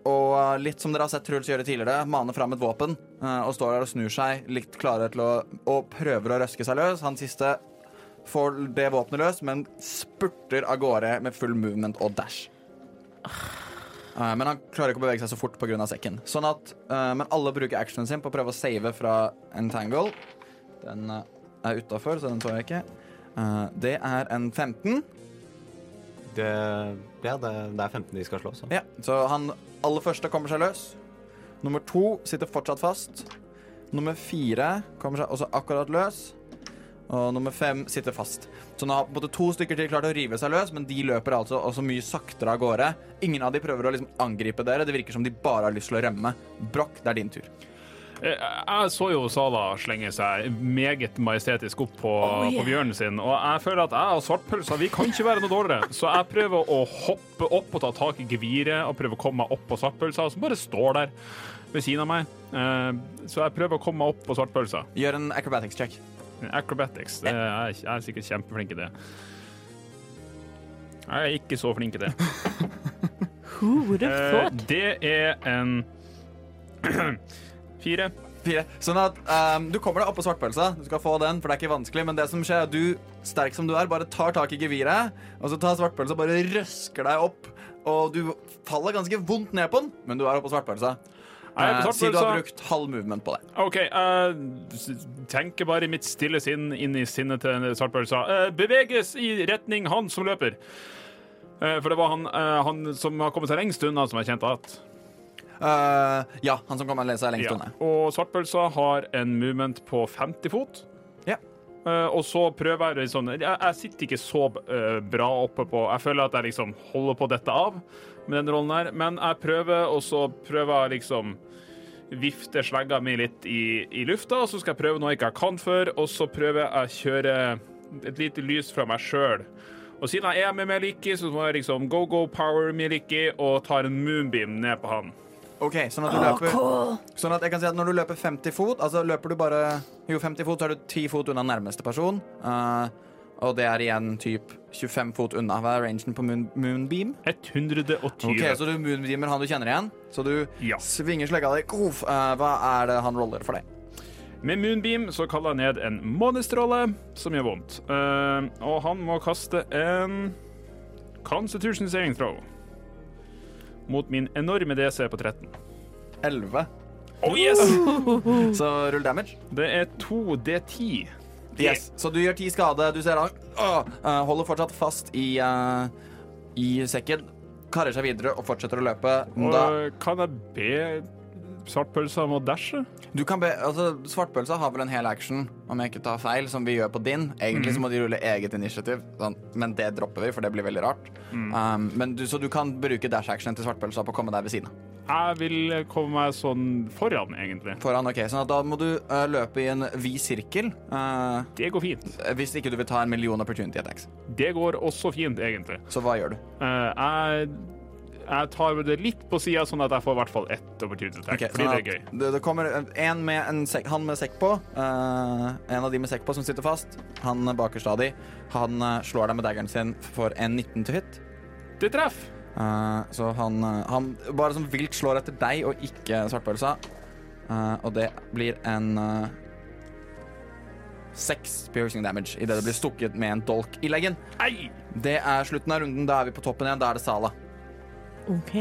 Speaker 8: Og eh, litt som dere har sett Truls gjøre tidligere, maner fram et våpen eh, og står der og snur seg, litt klare til å Og prøver å røske seg løs. Han siste får det våpenet løs, men spurter av gårde med full movement og dash. Eh, Men han klarer ikke å bevege seg så fort pga. sekken. Sånn at, eh, Men alle bruker actionen sin på å prøve å save fra Entangle. Den eh, er utafor, så den så jeg ikke. Eh, det er en 15.
Speaker 1: Det, ja, det, det er 15 de skal slå, så.
Speaker 8: Ja, så han aller første kommer seg løs. Nummer to sitter fortsatt fast. Nummer fire kommer seg også akkurat løs. Og nummer fem sitter fast. Så nå har på en måte to stykker til klart å rive seg løs, men de løper altså også mye saktere av gårde. Ingen av de prøver å liksom angripe dere. Det virker som de bare har lyst til å rømme. Brokk, det er din tur.
Speaker 7: Eh, Jeg så jo Sala slenge seg meget majestetisk opp på,
Speaker 3: Oh, yeah.
Speaker 7: på bjørnen sin, og jeg føler at jeg og svartpølsa vi kan ikke være noe dårligere, så jeg prøver å hoppe opp og ta tak i geviret og prøver å komme meg opp på svartpølsa, som bare står der ved siden av meg. Eh, Så jeg prøver å komme meg opp på svartpølsa.
Speaker 8: Gjør en acrobatics check.
Speaker 7: Acrobatics, det er, jeg er sikkert kjempeflink i det. Jeg er ikke så flink i
Speaker 3: [LAUGHS]
Speaker 7: det.
Speaker 3: Who would have
Speaker 7: Eh,
Speaker 3: thought?
Speaker 7: Det er en [CLEARS THROAT] fire.
Speaker 8: Fire. Sånn at ehm, du kommer deg opp på svartpølsa. Du skal få den, for det er ikke vanskelig. Men det som skjer, er at du, sterk som du er, bare tar tak i geviret, og så tar svartpølsa og bare røsker deg opp. Og du faller ganske vondt ned på den, men du er oppe på svartpølsa.
Speaker 7: Jeg er på
Speaker 8: Eh, Si du har
Speaker 7: svartpølsa.
Speaker 8: brukt halv movement på det.
Speaker 7: OK, jeg s- tenker bare i mitt stille sinn inn i sinnet til svartpølsa. Eh, Beveges i retning han som løper. Eh, For det var han, eh, han som har kommet seg lengst unna, som jeg kjente at
Speaker 8: Eh, ja, han som kommer og leser seg lengst
Speaker 7: ja.
Speaker 8: unna.
Speaker 7: Og svartpølsa har en movement på 50 fot.
Speaker 8: Ja.
Speaker 7: Eh, og så prøver jeg litt sånn Jeg, jeg sitter ikke så eh, bra oppe på Jeg føler at jeg liksom holder på dette av med den rollen her, men jeg prøver, og så prøver jeg liksom vifte slegga mi litt i, i lufta, og så skal jeg prøve noe jeg ikke kan før, og så prøver jeg å kjøre et lite lys fra meg sjøl. Og siden jeg er med Meliki, så må jeg liksom go-go power Meliki og tar en moonbeam ned på han.
Speaker 8: Ok, sånn at du løper Sånn at jeg kan si at når du løper 50 fot Altså løper du bare Jo, 50 fot, så er du 10 fot unna nærmeste person eh, Og det er igjen typ 25 fot unna Hva er rangen på moon, moonbeam?
Speaker 7: 120.
Speaker 8: Ok, så du moonbeamer han du kjenner igjen. Så du
Speaker 7: Ja.
Speaker 8: svinger slegga di. Uff, eh, hva er det han roller for deg?
Speaker 7: Med moonbeam så kaller jeg ned en månestråle som gjør vondt. Eh, og han må kaste en Constitution saving throw mot min enorme DC på 13.
Speaker 8: 11.
Speaker 7: Oh yes!
Speaker 8: Så rull damage.
Speaker 7: Det er 2D10.
Speaker 8: Yes. Så du gjør ti skade. Du ser han åh, eh, holder fortsatt fast i, eh, i sekken. Karrer seg videre og fortsetter å løpe.
Speaker 7: Og
Speaker 8: Da,
Speaker 7: kan jeg be svartpølsa om å dashe?
Speaker 8: du kan be, altså, svartpølsa har vel en hel action, om jeg ikke tar feil, som vi gjør på din. Egentlig så må de rulle eget initiativ, sånn. men det dropper vi, for det blir veldig rart. Um, men du, så du kan bruke dash-actionen til svartpølsa på å komme deg ved siden av.
Speaker 7: Jeg vil komme meg sånn foran, egentlig.
Speaker 8: Foran, ok, sånn at Da må du eh, løpe i en vid sirkel. eh,
Speaker 7: Det går fint.
Speaker 8: hvis ikke du vil ta en million opportunity attacks.
Speaker 7: Det går også fint, egentlig.
Speaker 8: Så hva gjør du?
Speaker 7: Eh, jeg, jeg tar det litt på sida, sånn at jeg får i hvert fall ett opportunity attack,
Speaker 8: Ok,
Speaker 7: fordi
Speaker 8: sånn
Speaker 7: det
Speaker 8: at
Speaker 7: er gøy.
Speaker 8: Det, det kommer en med en sekk, han med sekk på. eh, en av de med sekk på som sitter fast. Han bakerst av de. Han eh, slår deg med daggeren sin for en 19 til hit.
Speaker 7: Det treffer!
Speaker 8: Eh, så han, eh, han bare som vilt slår etter deg og ikke svartpølsa. Eh, og det blir en eh, Seks piercing damage idet det blir stukket med en dolk i leggen.
Speaker 7: Ei!
Speaker 8: Det er slutten av runden. Da er vi på toppen igjen. Da er det Sala.
Speaker 3: OK.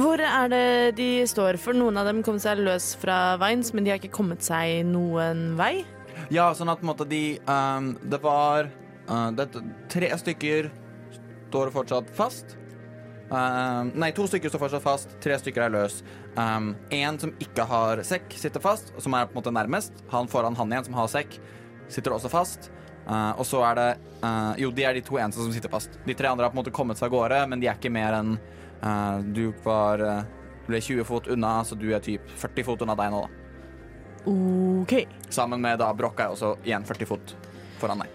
Speaker 3: Hvor er det de står? For noen av dem kom seg løs fra Vines, men de har ikke kommet seg noen vei.
Speaker 8: Ja, sånn at på en måte de ehm, Det var eh, det, Tre stykker står fortsatt fast. Ehm, nei, to stykker står fortsatt fast, tre stykker er løs. Ehm, En som ikke har sekk, sitter fast, som er på en måte nærmest. Han foran han igjen som har sekk, sitter også fast. Eh, og så er det eh, Jo, de er de to eneste som sitter fast. De tre andre har på en måte kommet seg av gårde, men de er ikke mer enn eh, Du var eh, du ble 20 fot unna, så du er typ 40 fot unna deg nå, da.
Speaker 3: OK.
Speaker 8: Sammen med da Brokk er også igjen 40 fot foran deg.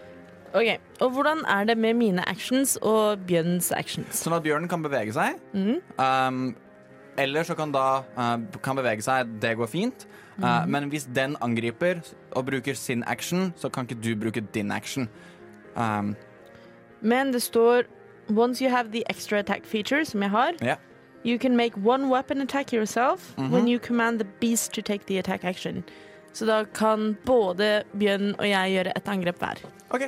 Speaker 3: Ok, Og hvordan er det med mine actions og Bjørns actions?
Speaker 8: Sånn at bjørnen kan bevege seg.
Speaker 3: Mhm.
Speaker 8: Um, eller så kan da eh, kan bevege seg, det går fint. Eh, Men hvis den angriper og bruker sin action, så kan ikke du bruke din action. Um,
Speaker 3: Men det står Once you have the extra attack feature, som jeg har,
Speaker 8: Ja.
Speaker 3: you can make one weapon attack yourself when you command the beast to take the attack action. Så da kan både Bjørn og jeg gjøre et angrep hver.
Speaker 8: OK.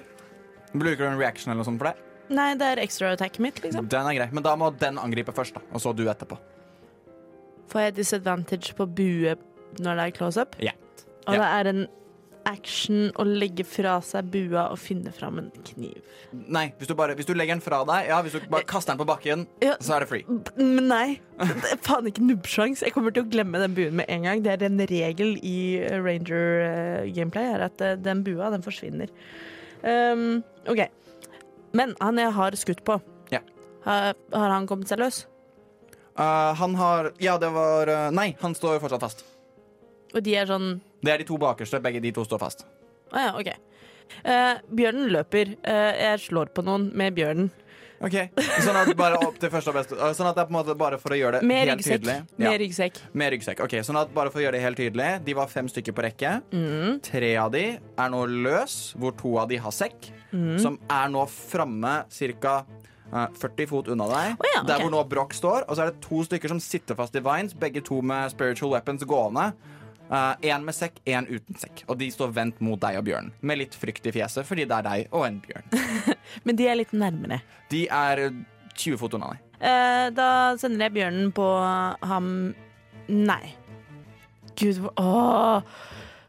Speaker 8: Bruker du en reaction eller noe sånt for det?
Speaker 3: Nei, det er extra attacken mitt, liksom.
Speaker 8: Den er grei, men da må den angripe først, da. Og så du etterpå.
Speaker 3: Får jeg disadvantage på bue når det er close up?
Speaker 8: Ja.
Speaker 3: Og
Speaker 8: Ja.
Speaker 3: det er en action å legge fra seg bua og finne fram en kniv.
Speaker 8: Nei, hvis du, bare, hvis du legger den fra deg, ja, hvis du bare kaster den på bakken,
Speaker 3: Ja.
Speaker 8: så er det free.
Speaker 3: Men nei. Det er faen ikke nubbsjans. Jeg kommer til å glemme den buen med en gang. Det er en regel i eh, Ranger eh, gameplay er at eh, den bua, den forsvinner. Um, OK. Men han jeg har skutt på,
Speaker 8: Ja.
Speaker 3: har, har han kommet seg løs?
Speaker 8: Eh, han har Ja, det var eh, Nei, han står fortsatt fast.
Speaker 3: Og de er sånn
Speaker 8: Det er de to bakerste. Begge de to står fast.
Speaker 3: Å ja, OK. Eh, bjørnen løper. Eh, jeg slår på noen med bjørnen.
Speaker 8: Ok, Sånn at bare opp til første og beste eh, Sånn at det er på en måte bare for å gjøre det
Speaker 3: Med
Speaker 8: helt
Speaker 3: ryggsekk.
Speaker 8: tydelig.
Speaker 3: Med ryggsekk.
Speaker 8: Med ryggsekk. Ok, sånn at bare for å gjøre det helt tydelig De var fem stykker på rekke.
Speaker 3: Mm.
Speaker 8: Tre av de er nå løs, hvor to av de har sekk.
Speaker 3: Mhm.
Speaker 8: Som er nå framme ca. 40 fot unna deg,
Speaker 3: ja,
Speaker 8: der
Speaker 3: ok.
Speaker 8: hvor nå Broch står. Og så er det to stykker som sitter fast i vines, begge to med spiritual weapons gående. Én med sekk, én uten sekk. Og de står vendt mot deg og bjørnen. Med litt frykt i fjeset, fordi det er deg og en bjørn.
Speaker 3: Men de er litt nærmere.
Speaker 8: De er 20 fot unna deg.
Speaker 3: Eh, da sender jeg bjørnen på ham Nei. Gud, hvor- åh.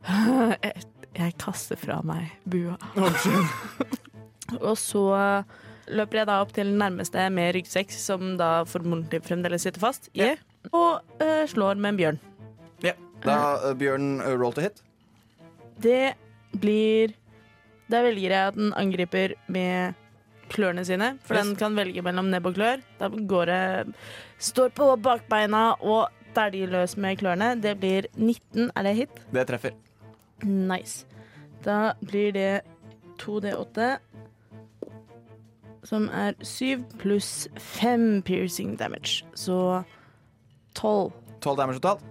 Speaker 3: [LAUGHS] Jeg, jeg kaster fra meg bua. [LAUGHS] Og så løper jeg da opp til den nærmeste med ryggsekk, som da formodentlig fremdeles sitter fast, i,
Speaker 8: Ja.
Speaker 3: og eh, slår med en bjørn.
Speaker 8: Ja. Da eh, bjørn eh, roll to hit.
Speaker 3: Det blir Da velger jeg at den angriper med klørne sine, for
Speaker 8: Yes.
Speaker 3: den kan velge mellom nebb og klør. Da går det Står på bakbeina og dæljer løs med klørne. Det blir 19. Er det hit?
Speaker 8: Det treffer.
Speaker 3: Nice. Da blir det 2D8, som er 7 pluss 5 piercing damage. Så 12.
Speaker 8: 12 damage totalt.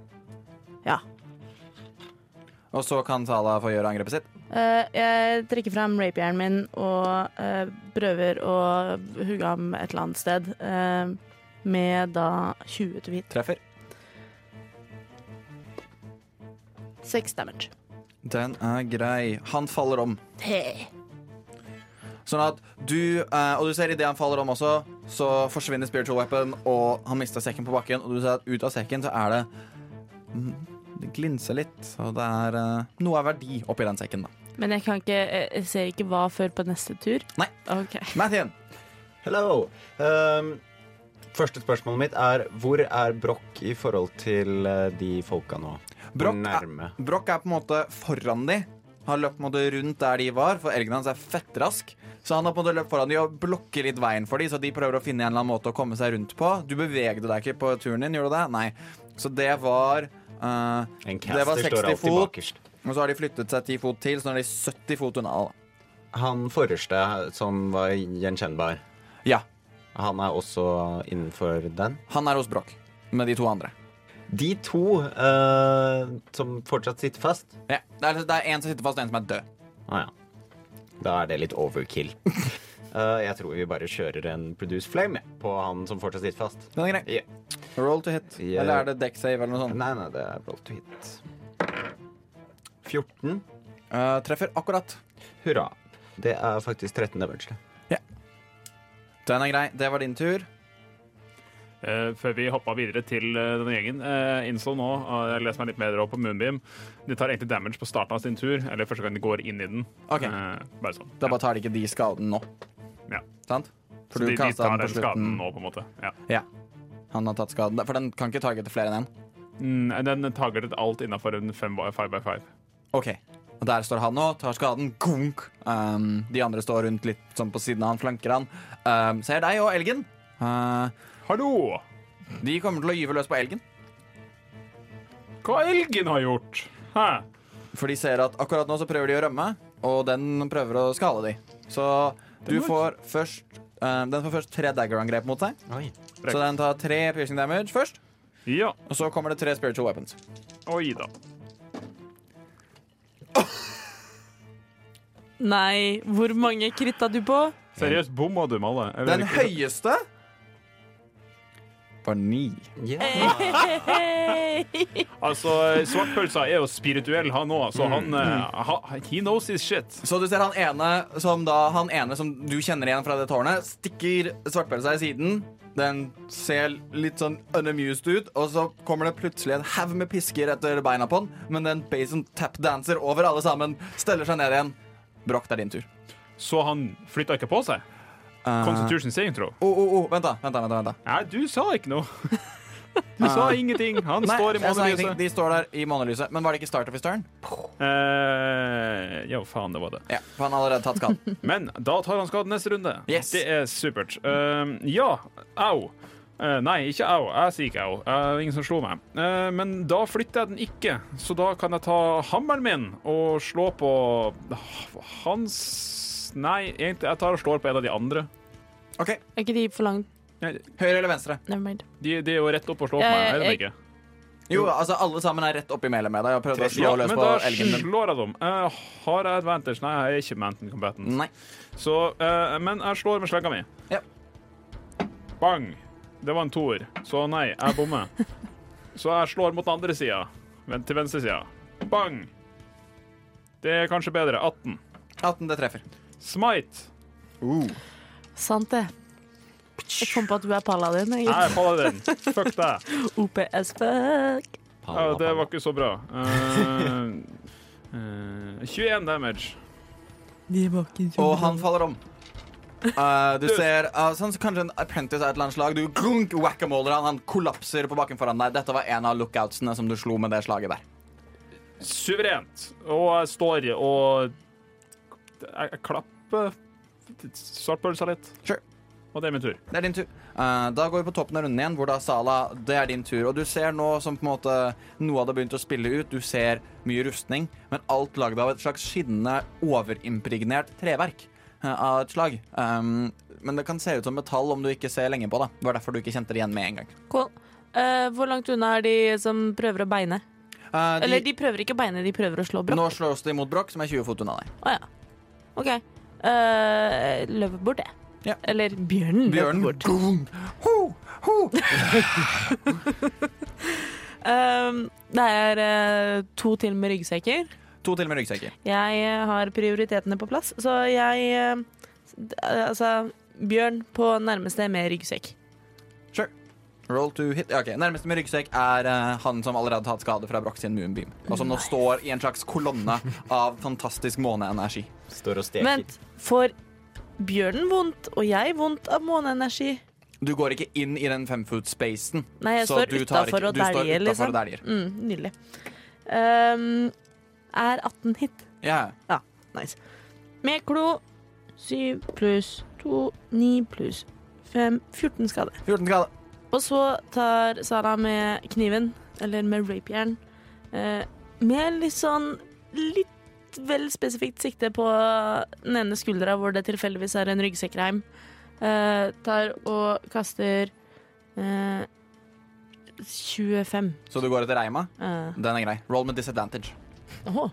Speaker 3: Ja.
Speaker 8: Og så kan Tala få gjøre angrepet sitt.
Speaker 3: Eh, jeg trekker fram rapieren min og eh, prøver å hugge ham et eller annet sted. eh, med da 20 to hit.
Speaker 8: Treffer.
Speaker 3: 6 damage.
Speaker 8: Den er grei. Han faller om.
Speaker 3: Hey.
Speaker 8: Sånn at du eh, Og du ser idet han faller om også, så forsvinner spiritual weapon, og han mister sekken på bakken, og du ser at ut av sekken så er det mm, Det glinser litt, og det er eh, noe av verdi oppi den sekken, da.
Speaker 3: Men jeg, kan ikke, jeg jeg ser ikke hva før på neste tur.
Speaker 8: Nei.
Speaker 3: Ok.
Speaker 8: Mathien,
Speaker 1: Hello. Um, første spørsmålet mitt er hvor er Broch i forhold til eh, de folka nå? Hvor
Speaker 8: Broch er,
Speaker 1: Nærme.
Speaker 8: Broch er på en måte foran de. Han løp på en måte rundt der de var, for elgen hans er fettrask. Så han har på en måte løpt foran de og blokker litt veien for de, så de prøver å finne en eller annen måte å komme seg rundt på. Du bevegde deg ikke på turen din, gjorde du det? Nei. Så det var eh,
Speaker 1: En
Speaker 8: Det var
Speaker 1: caster står
Speaker 8: 60
Speaker 1: alltid
Speaker 8: fot.
Speaker 1: bakerst.
Speaker 8: Og så har de flyttet seg ti fot til, så nå er de 70 fot unna. da.
Speaker 1: Han forreste som var gjenkjennbar,
Speaker 8: Ja,
Speaker 1: han er også innenfor den.
Speaker 8: han er hos Broch med de to andre.
Speaker 1: De to eh, som fortsatt sitter fast
Speaker 8: Ja. Det er det er en som sitter fast, og en som er død.
Speaker 1: ah, ja. Da er det litt
Speaker 8: [LAUGHS]
Speaker 1: overkill. Eh, jeg tror vi bare kjører en Produce Flame jeg, på han som fortsatt sitter fast.
Speaker 8: Den er grei.
Speaker 1: Ja.
Speaker 8: Roll to hit.
Speaker 1: Ja.
Speaker 8: Eller er det deck save eller noe sånt?
Speaker 1: Nei, nei, det er roll to hit. 14.
Speaker 8: Eh, treffer akkurat.
Speaker 1: Hurra. Det er faktisk 13 damage. det.
Speaker 8: Den er grei. Det var din tur.
Speaker 7: Eh, før vi hoppa videre til eh, denne gjengen, eh, innså nå eh, Jeg leser meg litt mer opp på Moonbeam. De tar egentlig damage på starten av sin tur, eller første gang de går inn i den.
Speaker 8: Ok,
Speaker 7: Eh, bare sånn.
Speaker 8: Da bare tar de ikke de skaden nå.
Speaker 7: Ja.
Speaker 8: Sant? For
Speaker 7: Så
Speaker 8: du
Speaker 7: de, de
Speaker 8: kastet
Speaker 7: tar
Speaker 8: den
Speaker 7: den
Speaker 8: på slutten.
Speaker 7: skaden nå, på en måte. Ja.
Speaker 8: Han har tatt skaden. For den kan ikke targete flere enn én.
Speaker 7: Mm, den targetet alt innafor en 5x5.
Speaker 8: Ok, og der står han nå, tar skaden. Gunk. Um, de andre står rundt litt sånn på siden av han, flanker han. Um, ser deg og elgen. Uh,
Speaker 7: Hallo!
Speaker 8: de kommer til å gyve løs på elgen,
Speaker 7: Hva elgen har gjort? Hæ?
Speaker 8: for de ser at akkurat nå så prøver de å rømme. og den prøver å skade de. Så du får først eh, Den får først tre dagger-angrep mot seg.
Speaker 1: Oi.
Speaker 8: Så den tar tre piercing damage først,
Speaker 7: Ja.
Speaker 8: og så kommer det tre spiritual weapons.
Speaker 7: Oi da.
Speaker 3: Nei, hvor mange kritta du på? [LAUGHS]
Speaker 7: Seriøst, bomma du med alle? Jeg vet
Speaker 8: Den
Speaker 7: ikke.
Speaker 8: høyeste var ni.
Speaker 1: Ja.
Speaker 3: Hei!
Speaker 7: Altså, Svartpølsa er jo spirituell, han òg, så han
Speaker 8: Mm.
Speaker 7: eh, ha, He knows his shit.
Speaker 8: Så du ser han ene som da Han ene som du kjenner igjen fra det tårnet, stikker svartpølsa i siden. Den ser litt sånn unamused ut, og så kommer det plutselig en haug med pisker etter beina på den, men den basen tapdancer over alle sammen, steller seg ned igjen. Brokk, det er din tur.
Speaker 7: Så han flytta ikke på seg? Constitution saving throw?
Speaker 8: Å, å, å, oh, vent, da. vent da, vent da, vent da.
Speaker 7: Nei, du sa ikke
Speaker 8: [LAUGHS]
Speaker 7: noe. Du sa ingenting. Han
Speaker 8: Nei,
Speaker 7: står i
Speaker 8: jeg sa ingenting.
Speaker 7: månelyset.
Speaker 8: De står der i månelyset. Men var det ikke start of his turn?
Speaker 7: Eh, jo, faen, det var det.
Speaker 8: Ja, for han har allerede tatt [LAUGHS] skaden.
Speaker 7: Men da tar han skade neste runde.
Speaker 8: Yes.
Speaker 7: Det er supert. Eh, ja, au. Eh, nei, ikke au. Jeg sier ikke au. Eh, ingen som slo meg. Eh, men da flytter jeg den ikke, så da kan jeg ta hammeren min og slå på hans Nei, egentlig, jeg tar og slår på en av de andre.
Speaker 8: OK.
Speaker 3: Er ikke de for langt?
Speaker 7: Nei,
Speaker 8: Høyre eller venstre?
Speaker 3: Never mind.
Speaker 7: De, de er jo rett opp og slår på
Speaker 3: Ja,
Speaker 7: meg, er de
Speaker 3: jeg-
Speaker 7: ikke?
Speaker 8: Jo, altså alle sammen er rett oppi melet med deg og prøvde å slå
Speaker 7: Ja,
Speaker 8: løs
Speaker 7: men
Speaker 8: på
Speaker 7: da
Speaker 8: elgen din.
Speaker 7: slår jeg dem. Eh, har jeg advantage? Nei, jeg er ikke mountain combatant.
Speaker 8: Nei.
Speaker 7: Så, eh, men jeg slår med slegga mi.
Speaker 8: Ja.
Speaker 7: Bang! Det var en toer, så nei, jeg
Speaker 8: [LAUGHS]
Speaker 7: bommer. så jeg slår mot den andre sida. Vent til venstre sida. Bang! Det er kanskje bedre. 18.
Speaker 8: 18, det treffer.
Speaker 7: Smite.
Speaker 3: Sant det. Jeg kom på at du er paladin. jeg.
Speaker 7: Jeg faller den. Fuck deg.
Speaker 3: OPS fuck.
Speaker 7: Ja, det var ikke så bra. Eh, eh, 21 damage.
Speaker 8: Og han faller om. Eh, du ser eh, sånn, som kanskje en apprentice av et eller annet slag. Du grunk, whack-a-moler han, han kollapser på bakken foran deg. Dette var en av lookoutsene som du slo med det slaget der.
Speaker 7: Suverent. Og jeg står og Jeg jeg klapper svartpølsa litt.
Speaker 8: Sure.
Speaker 7: Og det er min tur.
Speaker 8: Det er din tur. Eh, da går vi på toppen av runden igjen, hvor da Sala Det er din tur. Og du ser nå som på en måte noe hadde begynt å spille ut. Du ser mye rustning, men alt lagd av et slags skinnende, overimpregnert treverk. eh, Av et slag. Um, men det kan se ut som metall om du ikke ser lenge på det. Det var derfor du ikke kjente det igjen med en gang.
Speaker 3: Cool. Eh, hvor langt unna er de som prøver å beine?
Speaker 8: Eh, de,
Speaker 3: Eller de prøver ikke å beine, de prøver å slå brokk.
Speaker 8: Nå slås de mot Broch, som er 20 fot unna deg.
Speaker 3: Å ja. OK. Eh, løper bort, jeg.
Speaker 8: Ja.
Speaker 3: Eller bjørnen. løper
Speaker 8: Bjørnen
Speaker 3: bort.
Speaker 8: Boom. Ho, ho.
Speaker 3: Eh, det er eh, to til med ryggsekker.
Speaker 8: To til med ryggsekker.
Speaker 3: Jeg eh, har prioritetene på plass, så jeg eh, d- Altså, bjørn på nærmeste med ryggsekk.
Speaker 8: Sure. Roll to hit. Ja, ok. Nærmeste med ryggsekk er eh, han som allerede har tatt skade fra Broch sin moonbeam, og som nå står i en slags kolonne av fantastisk måneenergi.
Speaker 1: Står og steker.
Speaker 3: Vent, får bjørnen vondt og jeg vondt av måneenergi?
Speaker 8: Du går ikke inn i den femfoot-spacen.
Speaker 3: Nei, Eh, jeg
Speaker 8: Så
Speaker 3: står
Speaker 8: du tar
Speaker 3: utafor
Speaker 8: ikke-
Speaker 3: og
Speaker 8: du står
Speaker 3: dæljer,
Speaker 8: utenfor
Speaker 3: liksom.
Speaker 8: og dæljer.
Speaker 3: Mm, nydelig. Ehm, er 18 hit.
Speaker 8: Ja.
Speaker 3: Nice. Med klo 7 pluss 2, 9 pluss 5, 14 skade.
Speaker 8: 14 skade.
Speaker 3: Og så tar Sara med kniven, eller med rapieren, eh, med litt sånn litt vel spesifikt sikte på den ene skuldra hvor det tilfeldigvis er en ryggsekkreim, eh, tar og kaster eh, 25.
Speaker 8: Så du går etter reima.
Speaker 3: Eh,
Speaker 8: Den er grei. Roll med disadvantage.
Speaker 3: Åh.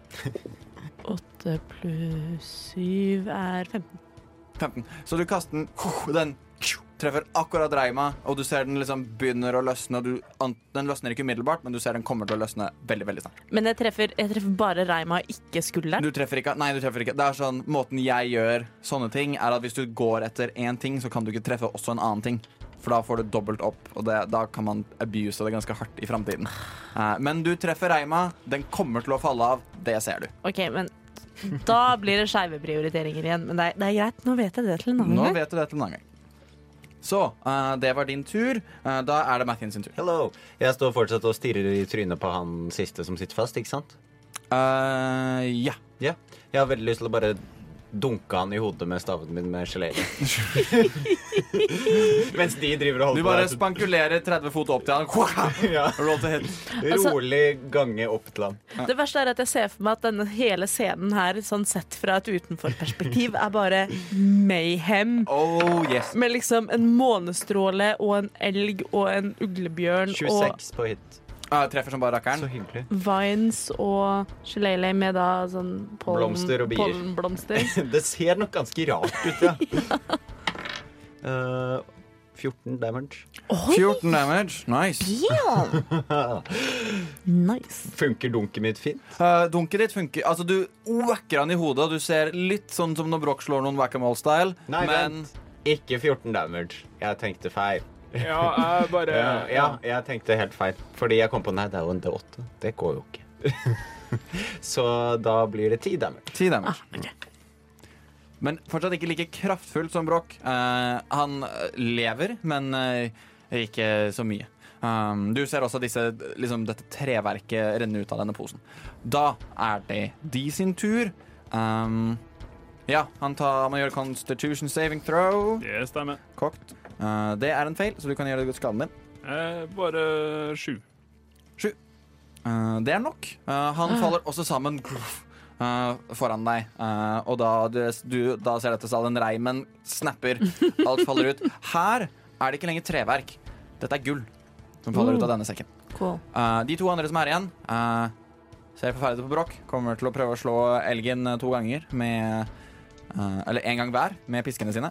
Speaker 3: 8 pluss 7 er 15.
Speaker 8: 15. Så du kaster den. Den treffer akkurat reima, og du ser den liksom begynner å løsne. Og du, an- den løsner ikke umiddelbart, men du ser den kommer til å løsne veldig veldig snart.
Speaker 3: Men jeg treffer, jeg treffer bare reima og ikke skulderen.
Speaker 8: Du treffer ikke. Nei, du treffer ikke. Det er sånn, Måten jeg gjør sånne ting, er at hvis du går etter én ting, så kan du ikke treffe også en annen ting. For da får du dobbelt opp, og det, da kan man abuse det ganske hardt i framtiden. Eh, men du treffer reima. Den kommer til å falle av. Det ser du.
Speaker 3: Ok, men da blir det skeive prioriteringer igjen. Men det er, det er greit, nå vet jeg det til en annen
Speaker 8: Nå
Speaker 3: gang.
Speaker 8: vet du det til en annen gang. Så eh, det var din tur. Eh, da er det Mathien sin tur.
Speaker 1: Hello. Jeg står fortsatt og stirrer i trynet på han siste som sitter fast, ikke sant?
Speaker 8: Eh, ja.
Speaker 1: Ja. Jeg har veldig lyst til å bare dunka han i hodet med staven min med geléen. Mens de driver og holder
Speaker 8: Du bare
Speaker 1: på.
Speaker 8: spankulerer 30 fot opp til han.
Speaker 1: der. Ja.
Speaker 8: [LAUGHS] Roll to hit.
Speaker 1: Rolig gange opp til han.
Speaker 3: Det verste er at jeg ser for meg at denne hele scenen her, sånn sett fra et utenforperspektiv, er bare mayhem.
Speaker 8: Oh yes.
Speaker 3: Med liksom en månestråle og en elg og en uglebjørn
Speaker 1: 26 på hit.
Speaker 8: Ah, jeg treffer som bare rakkeren.
Speaker 1: Så hyggelig.
Speaker 3: og vines og gelele med da sånn pollen,
Speaker 1: Blomster og bier.
Speaker 3: pollenblomster.
Speaker 1: [LAUGHS] Det ser nok ganske rart ut, ja. Eh, 14 damage.
Speaker 8: 14 damage. Nice.
Speaker 3: Nice.
Speaker 1: Funker dunket mitt fint?
Speaker 8: Eh, dunket ditt funker. Altså, du whacker han i hodet, og du ser litt sånn som når Broch slår noen whack-a-mole-style,
Speaker 1: Nei,
Speaker 8: men
Speaker 1: vent. Ikke 14 damage. Jeg tenkte feil.
Speaker 7: [LAUGHS]
Speaker 1: Eh,
Speaker 7: Ja, jeg bare
Speaker 1: Ja, ja, jeg tenkte helt feil. Fordi jeg kom på nei, det er jo en D8. Det går jo ikke. [LAUGHS] Så da blir det 10 damage.
Speaker 8: 10 damage. Men fortsatt ikke like kraftfullt som Broch. Eh, han eh, lever, men eh, ikke så mye. Um, du ser også disse, liksom, dette treverket renne ut av denne posen. Da er det de sin tur. Um, ja, han tar, man gjør Constitution saving throw.
Speaker 7: Det stemmer.
Speaker 8: Kokt. Eh, det er en feil, så du kan gjøre skaden din.
Speaker 7: Eh, bare sju.
Speaker 8: Eh, det er nok. Eh, han faller også sammen [LAUGHS] gruff, eh, foran deg. Eh, og da, du, du, da ser dette salen reimen snapper. Alt faller ut. Her er det ikke lenger treverk. Dette er gull som faller ut av denne sekken.
Speaker 3: Cool.
Speaker 8: Eh, de to andre som er igjen, eh, ser forferdede på bråk. Kommer til å prøve å slå elgen eh, to ganger med eh, Eller én gang hver med piskene sine.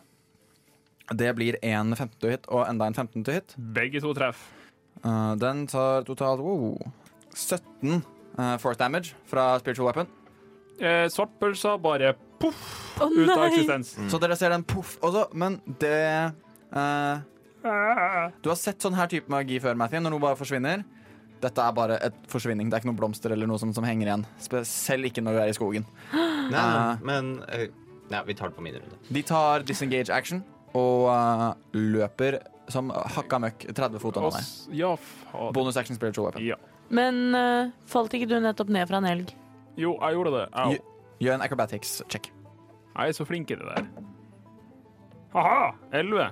Speaker 8: Det blir en 15 til hit og enda en 15 til hit.
Speaker 7: Begge to treff.
Speaker 8: Eh, den tar totalt wow, 17 eh, force damage fra spiritual weapon.
Speaker 7: Eh, Svartpølsa bare poff
Speaker 3: Å
Speaker 7: ut av
Speaker 3: nei!
Speaker 7: eksistens.
Speaker 8: Så dere ser den poff også, men det eh, Du har sett sånn her type magi før, Matthew, når noe bare forsvinner. Dette er bare et forsvinning. Det er ikke noen blomster eller noe som, som henger igjen. Spe- Selv ikke når du er i skogen.
Speaker 1: Nei, nei,
Speaker 8: Ah.
Speaker 1: men eh, Nei, vi tar det på min [LAUGHS] runde.
Speaker 8: De tar disengage action og eh, løper som hakka møkk 30 fot unna deg.
Speaker 7: Oss- Ja, faen.
Speaker 8: Bonus action spiritual weapon.
Speaker 7: Ja.
Speaker 3: Men eh, falt ikke du nettopp ned fra en elg?
Speaker 7: Jo, jeg gjorde det. Au.
Speaker 8: Jo. Gjør en acrobatics check.
Speaker 7: Jeg er så flink i det der. Haha! Elleve.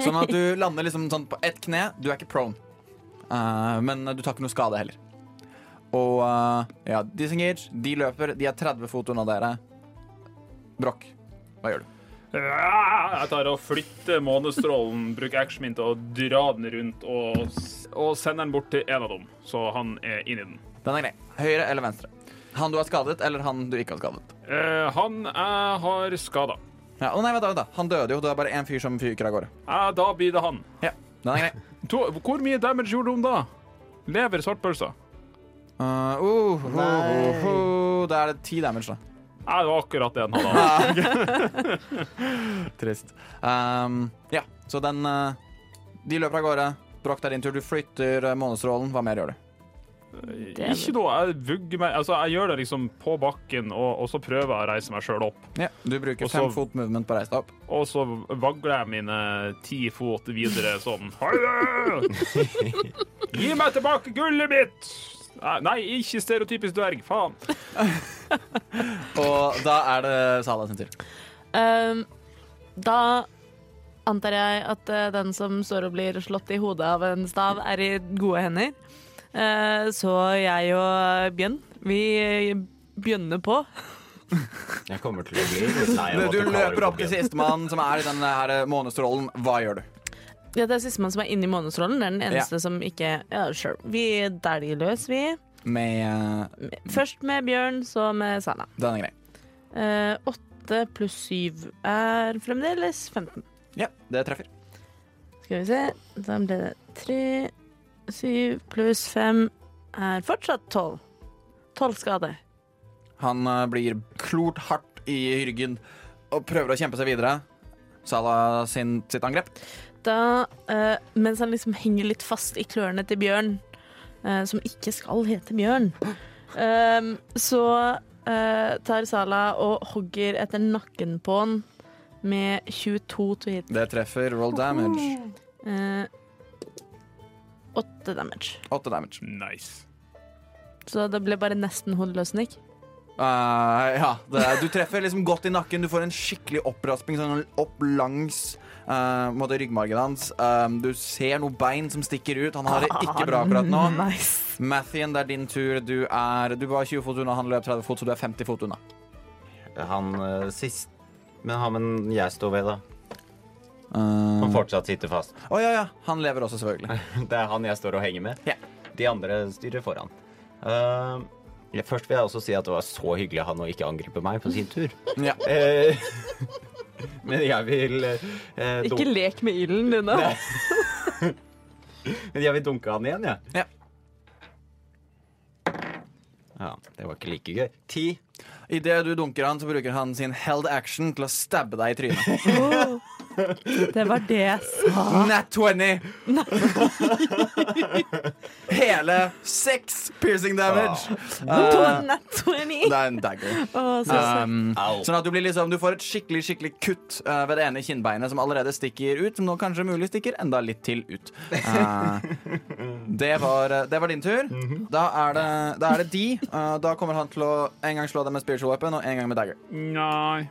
Speaker 8: Sånn at du lander liksom sånn på ett kne. Du er ikke prone, Eh, men du tar ikke noe skade heller. Og eh, ja, disengage. De løper. De er 30 fot unna dere. Brokk, hva gjør du?
Speaker 7: Jeg tar og flytter månestrålen, bruker actionen min til å dra den rundt og, s- og sender den bort til en av dem, så han er inni den.
Speaker 8: Den er grei. Høyre eller venstre? Han du har skadet, eller han du ikke har skadet?
Speaker 7: Eh, han jeg har skada.
Speaker 8: Ja, å nei, vent da, vent da. Han døde jo. Det er bare én fyr som fyker av gårde.
Speaker 7: Eh, da blir det han.
Speaker 8: Ja, den er grei.
Speaker 7: To, hvor mye damage gjorde hun da? Lever svartpølsa?
Speaker 8: Eh, oh, ho, ho, ho. Da er det ti damage, da.
Speaker 7: Eh, det var akkurat det han hadde.
Speaker 8: Trist. Ehm, ja, så den eh, De løper av gårde. Brokk, det er din tur. Du flytter eh, månestrålen. Hva mer gjør du?
Speaker 3: er
Speaker 7: Eh, Ikke noe. Jeg vugger meg Altså, jeg gjør det liksom på bakken, og, og så prøver jeg å reise meg sjøl opp.
Speaker 8: Ja, du bruker
Speaker 7: Og så-
Speaker 8: fem fot movement på å reise deg opp.
Speaker 7: Og så vagler jeg mine ti fot videre sånn. «Hallo! Gi meg tilbake gullet mitt! Nei, ikke stereotypisk dverg, faen.
Speaker 8: Og da er det Sala sin tur.
Speaker 3: Ehm, da antar jeg at eh, den som står og blir slått i hodet av en stav, er i gode hender. Eh, så jeg og Bjørn, vi eh, begynner på.
Speaker 1: Jeg kommer til å bli litt lei av at
Speaker 8: Du løper opp til
Speaker 1: siden.
Speaker 8: sistemann som er i denne her eh, månestrålen. Hva gjør du?
Speaker 3: Ja, det er sistemann som er inni månestrålen. Det er den eneste som ikke Ja, sure. Vi dæljer løs, vi.
Speaker 8: Med eh,
Speaker 3: Først med Bjørn, så med Sana.
Speaker 8: denne greia.
Speaker 3: Eh, Åtte pluss syv er fremdeles 15.
Speaker 8: Ja, det treffer.
Speaker 3: Skal vi se. Da ble det tre Syv pluss fem er fortsatt tolv. Tolv skader.
Speaker 8: Han eh, blir klort hardt i ryggen og prøver å kjempe seg videre. Sala sin, sitt angrep.
Speaker 3: Da, eh, mens han liksom henger litt fast i klørne til Bjørn, eh, som ikke skal hete Bjørn, eh, så eh, tar Sala og hogger etter nakken på han med 22 to hit.
Speaker 8: Det treffer roll damage.
Speaker 3: Eh, Åtte damage.
Speaker 8: Åtte damage.
Speaker 7: Nice.
Speaker 3: Så det ble bare nesten hodeløsning.
Speaker 8: Eh, ja, det, er- du treffer liksom godt i nakken. Du får en skikkelig opprasping sånn opp langs eh, på en måte ryggmargen hans. Eh, du ser noen bein som stikker ut. Han har det ikke bra akkurat nå.
Speaker 3: Nice.
Speaker 8: Mathien, det er din tur. Du, er, du var 20 fot unna, han løp 30 fot, så du er 50 fot unna.
Speaker 1: Han eh, sist Men han men jeg står ved, da.
Speaker 8: Eh,
Speaker 1: Han fortsatt sitter fast. [LAUGHS]
Speaker 8: Å ja, ja. Han lever også, selvfølgelig.
Speaker 1: Det er han jeg står og henger med.
Speaker 8: Ja.
Speaker 1: De andre styrer foran. Eh, ja, først vil jeg også si at det var så hyggelig av han å ikke angripe meg på sin tur.
Speaker 8: [LAUGHS] Ja.
Speaker 1: Eh, men jeg vil eh,
Speaker 3: Ikke
Speaker 1: dunk-
Speaker 3: lek med ilden din, da.
Speaker 10: [LAUGHS]
Speaker 1: Men jeg vil dunke han igjen, jeg.
Speaker 8: Ja.
Speaker 1: Ja, det var ikke like gøy. Ti.
Speaker 8: Idet du dunker han, så bruker han sin held action til å stabbe deg i trynet.
Speaker 3: Det var det jeg sa.
Speaker 8: Nat [LAUGHS] 20! Hele seks piercing damage.
Speaker 1: Ah,
Speaker 8: Eh,
Speaker 3: Nat 20.
Speaker 8: det er en dagger.
Speaker 3: Å, så søtt.
Speaker 8: Um,
Speaker 1: Au.
Speaker 8: sånn at du, blir liksom, du får et skikkelig skikkelig kutt eh, ved det ene kinnbeinet som allerede stikker ut, som nå kanskje mulig stikker enda litt til ut. Eh, det, var, eh, det var din tur.
Speaker 3: Mhm.
Speaker 8: Da er det, da er det de. Eh, da kommer han til å en gang slå deg med spiritual weapon og en gang med dagger.
Speaker 7: Nei.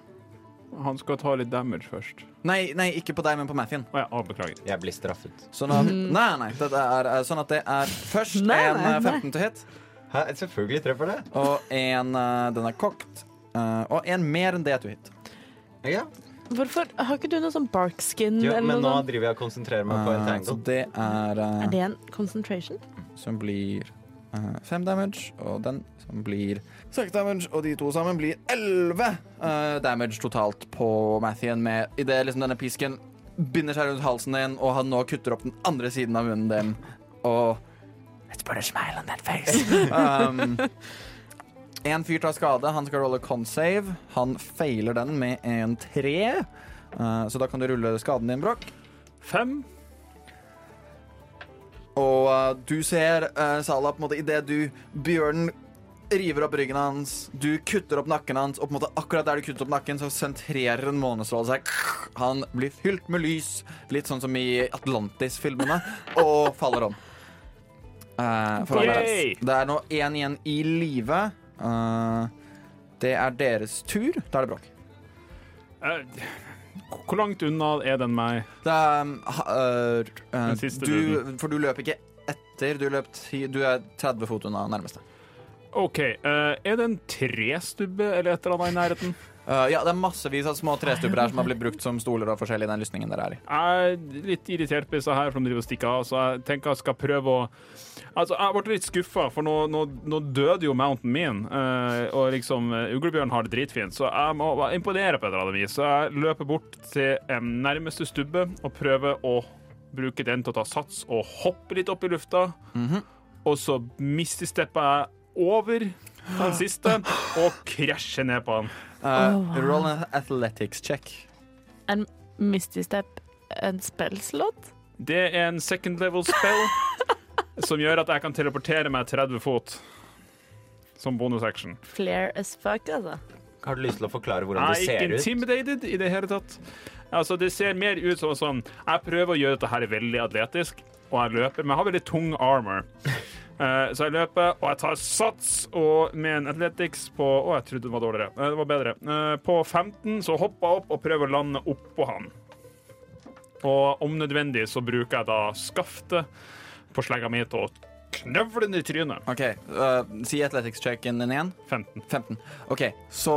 Speaker 7: Han skal ta litt damage først.
Speaker 8: Nei, nei ikke på deg, men på Mathien.
Speaker 7: Å ja, å, beklager.
Speaker 1: Jeg blir straffet.
Speaker 8: Sånn at, nei, nei, dette er, eh, sånn at det er først
Speaker 3: Mhm. Nei,
Speaker 8: en
Speaker 3: nei,
Speaker 8: eh,
Speaker 3: nei.
Speaker 8: 15 to hit,
Speaker 1: Hæ? Selvfølgelig treffer det.
Speaker 8: og en eh, Den er kokt. eh, og en mer enn det to hit.
Speaker 1: Ja.
Speaker 3: Hvorfor har ikke du noe sånn bark skin
Speaker 1: Jo,
Speaker 3: eller
Speaker 1: men Ah, nå
Speaker 3: noe sånt?
Speaker 1: driver jeg og konsentrerer meg på
Speaker 8: Eh,
Speaker 1: entangle.
Speaker 8: så det er eh,
Speaker 3: Er det en concentration?
Speaker 8: som blir eh, fem damage, og den som blir seks damage, og de to sammen blir elleve eh, damage totalt på Mathien med idet liksom denne pisken binder seg rundt halsen din, og han nå kutter opp den andre siden av munnen din, og Let's put
Speaker 4: [LAUGHS]
Speaker 8: a smile on that face. um, en fyr tar skade. Han skal rolle con-save. Han feiler den med en tre. Eh, så da kan du rulle skaden din, Brokk.
Speaker 7: Fem.
Speaker 8: Og eh, du ser eh, Salah på en måte idet du Bjørnen river opp ryggen hans, du kutter opp nakken hans, og på en måte akkurat der du kutter opp nakken, så sentrerer en månestråle seg. Han blir fylt med lys, litt sånn som i Atlantis-filmene, og faller om. Eh, for all
Speaker 7: Yay!
Speaker 8: verdens. det er nå én igjen i live. Eh, det er deres tur. Da er det bråk.
Speaker 7: Eh, Hvor langt unna er den meg?
Speaker 8: Det er, um, ha- øh, øh,
Speaker 7: Den siste
Speaker 8: du, for du løp ikke etter, du løp ti, Du er 30 fot unna nærmeste.
Speaker 7: OK, eh, er det en trestubbe eller et eller annet i nærheten?
Speaker 8: Uh, ja, det er massevis av små trestubber her som har blitt brukt som stoler og forskjellig i den lysningen dere er i.
Speaker 7: Jeg er litt irritert på disse her, for de driver og stikker av, så jeg tenker jeg skal prøve å Altså, jeg ble litt skuffa, for nå, nå, nå døde jo mountain min, eh, og liksom eh, Uglebjørn har det dritfint, så jeg må imponere på et eller annet vis. Så jeg løper bort til eh, nærmeste stubbe og prøver å bruke den til å ta sats og hoppe litt opp i lufta,
Speaker 8: Mhm.
Speaker 7: og så mistestepper jeg over den siste og krasjer ned på han.
Speaker 8: Uh, Roll an athletics check.
Speaker 3: Misty Step en spellslott?
Speaker 7: Det er en second level spell som gjør at jeg kan teleportere meg 30 fot. Som bonus action.
Speaker 3: Flair as fuck, altså.
Speaker 1: Har du lyst til å forklare hvordan
Speaker 7: Jeg
Speaker 1: det
Speaker 7: er
Speaker 1: ser
Speaker 7: ikke
Speaker 1: ut?
Speaker 7: intimidated i det hele tatt. Altså, det ser mer ut som sånn Jeg prøver å gjøre dette her veldig atletisk, og jeg løper, men jeg har veldig tung
Speaker 1: [LAUGHS]
Speaker 7: armor. Eh, så jeg løper, og jeg tar sats og med en athletics på Å, jeg trodde den var dårligere. Eh, det var bedre. Eh, på 15 så hopper jeg opp og prøver å lande oppå han. Og om nødvendig så bruker jeg da skaftet på slegga mi til å knøvle den i trynet.
Speaker 8: OK, uh, si athletics checken din igjen.
Speaker 7: 15.
Speaker 8: 15. OK, så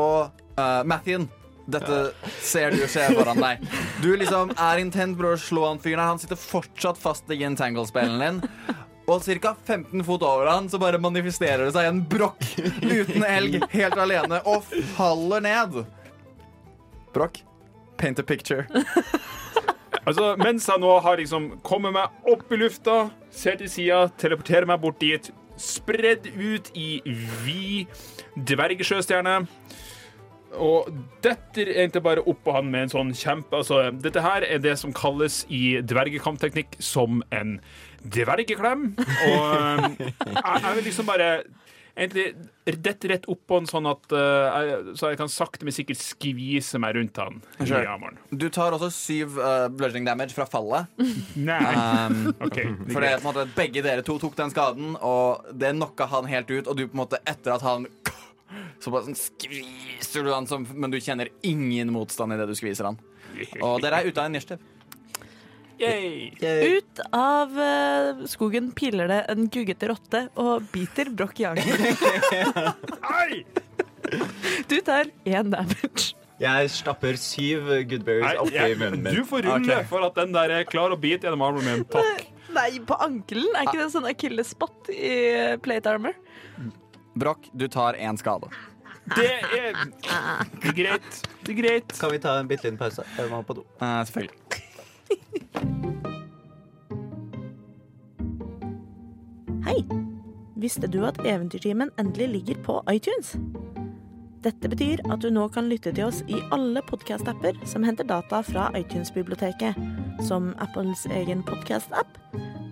Speaker 8: uh, Mathien. Dette ser du skje foran deg. Du liksom er intent på å slå han fyren her. Han sitter fortsatt fast i entangle-spillen din. Og ca. 15 fot over han så bare manifesterer det seg en brokk uten elg, helt alene, og faller ned. Brokk, paint a picture.
Speaker 7: Altså, mens jeg nå har liksom kommet meg opp i lufta, ser til sida, teleporterer meg bort dit, spredd ut i vid dvergesjøstjerne, og detter egentlig bare oppå han med en sånn kjempe Altså, dette her er det som kalles i dvergekampteknikk som en dvergeklem, og eh, jeg, jeg vil liksom bare Egentlig dette rett oppå han sånn at eh, jeg, Så jeg kan sakte, men sikkert skvise meg rundt han. i
Speaker 8: Sure.
Speaker 7: armoren.
Speaker 8: Du tar også syv uh, bludging damage fra fallet.
Speaker 7: Nei.
Speaker 8: Um,
Speaker 7: OK.
Speaker 8: For det er på en måte at begge dere to tok den skaden, og det knocka han [LAUGHS] helt ut, og du på en måte etter at han Så bare sånn skviser du han, som, men du kjenner ingen motstand idet du skviser han. Og dere er ute av en irstøv.
Speaker 7: Yay!
Speaker 3: Ut av eh, skogen piler det en guggete rotte og biter Broch i ankelen.
Speaker 7: Ai!
Speaker 3: Du tar én damage.
Speaker 10: Jeg stapper syv
Speaker 7: Nei,
Speaker 10: goodberries oppi
Speaker 7: jeg-
Speaker 10: munnen min.
Speaker 7: du får rulle
Speaker 8: Ok.
Speaker 7: for at den der er klar å bite gjennom armen min. Takk.
Speaker 3: Nei, på ankelen? Er ikke det sånn akillespott i eh, plate armor?
Speaker 8: Broch, du tar én skade.
Speaker 7: Det
Speaker 3: [LAUGHS]
Speaker 7: er greit. Det er greit.
Speaker 10: Kan vi ta en bitte liten pause? Jeg må på do.
Speaker 8: Eh, selvfølgelig.
Speaker 11: Hei! Visste du at Eventyrtimen endelig ligger på iTunes? Dette betyr at du nå kan lytte til oss i alle podkast-apper som henter data fra iTunes-biblioteket, som Apples egen podkast-app,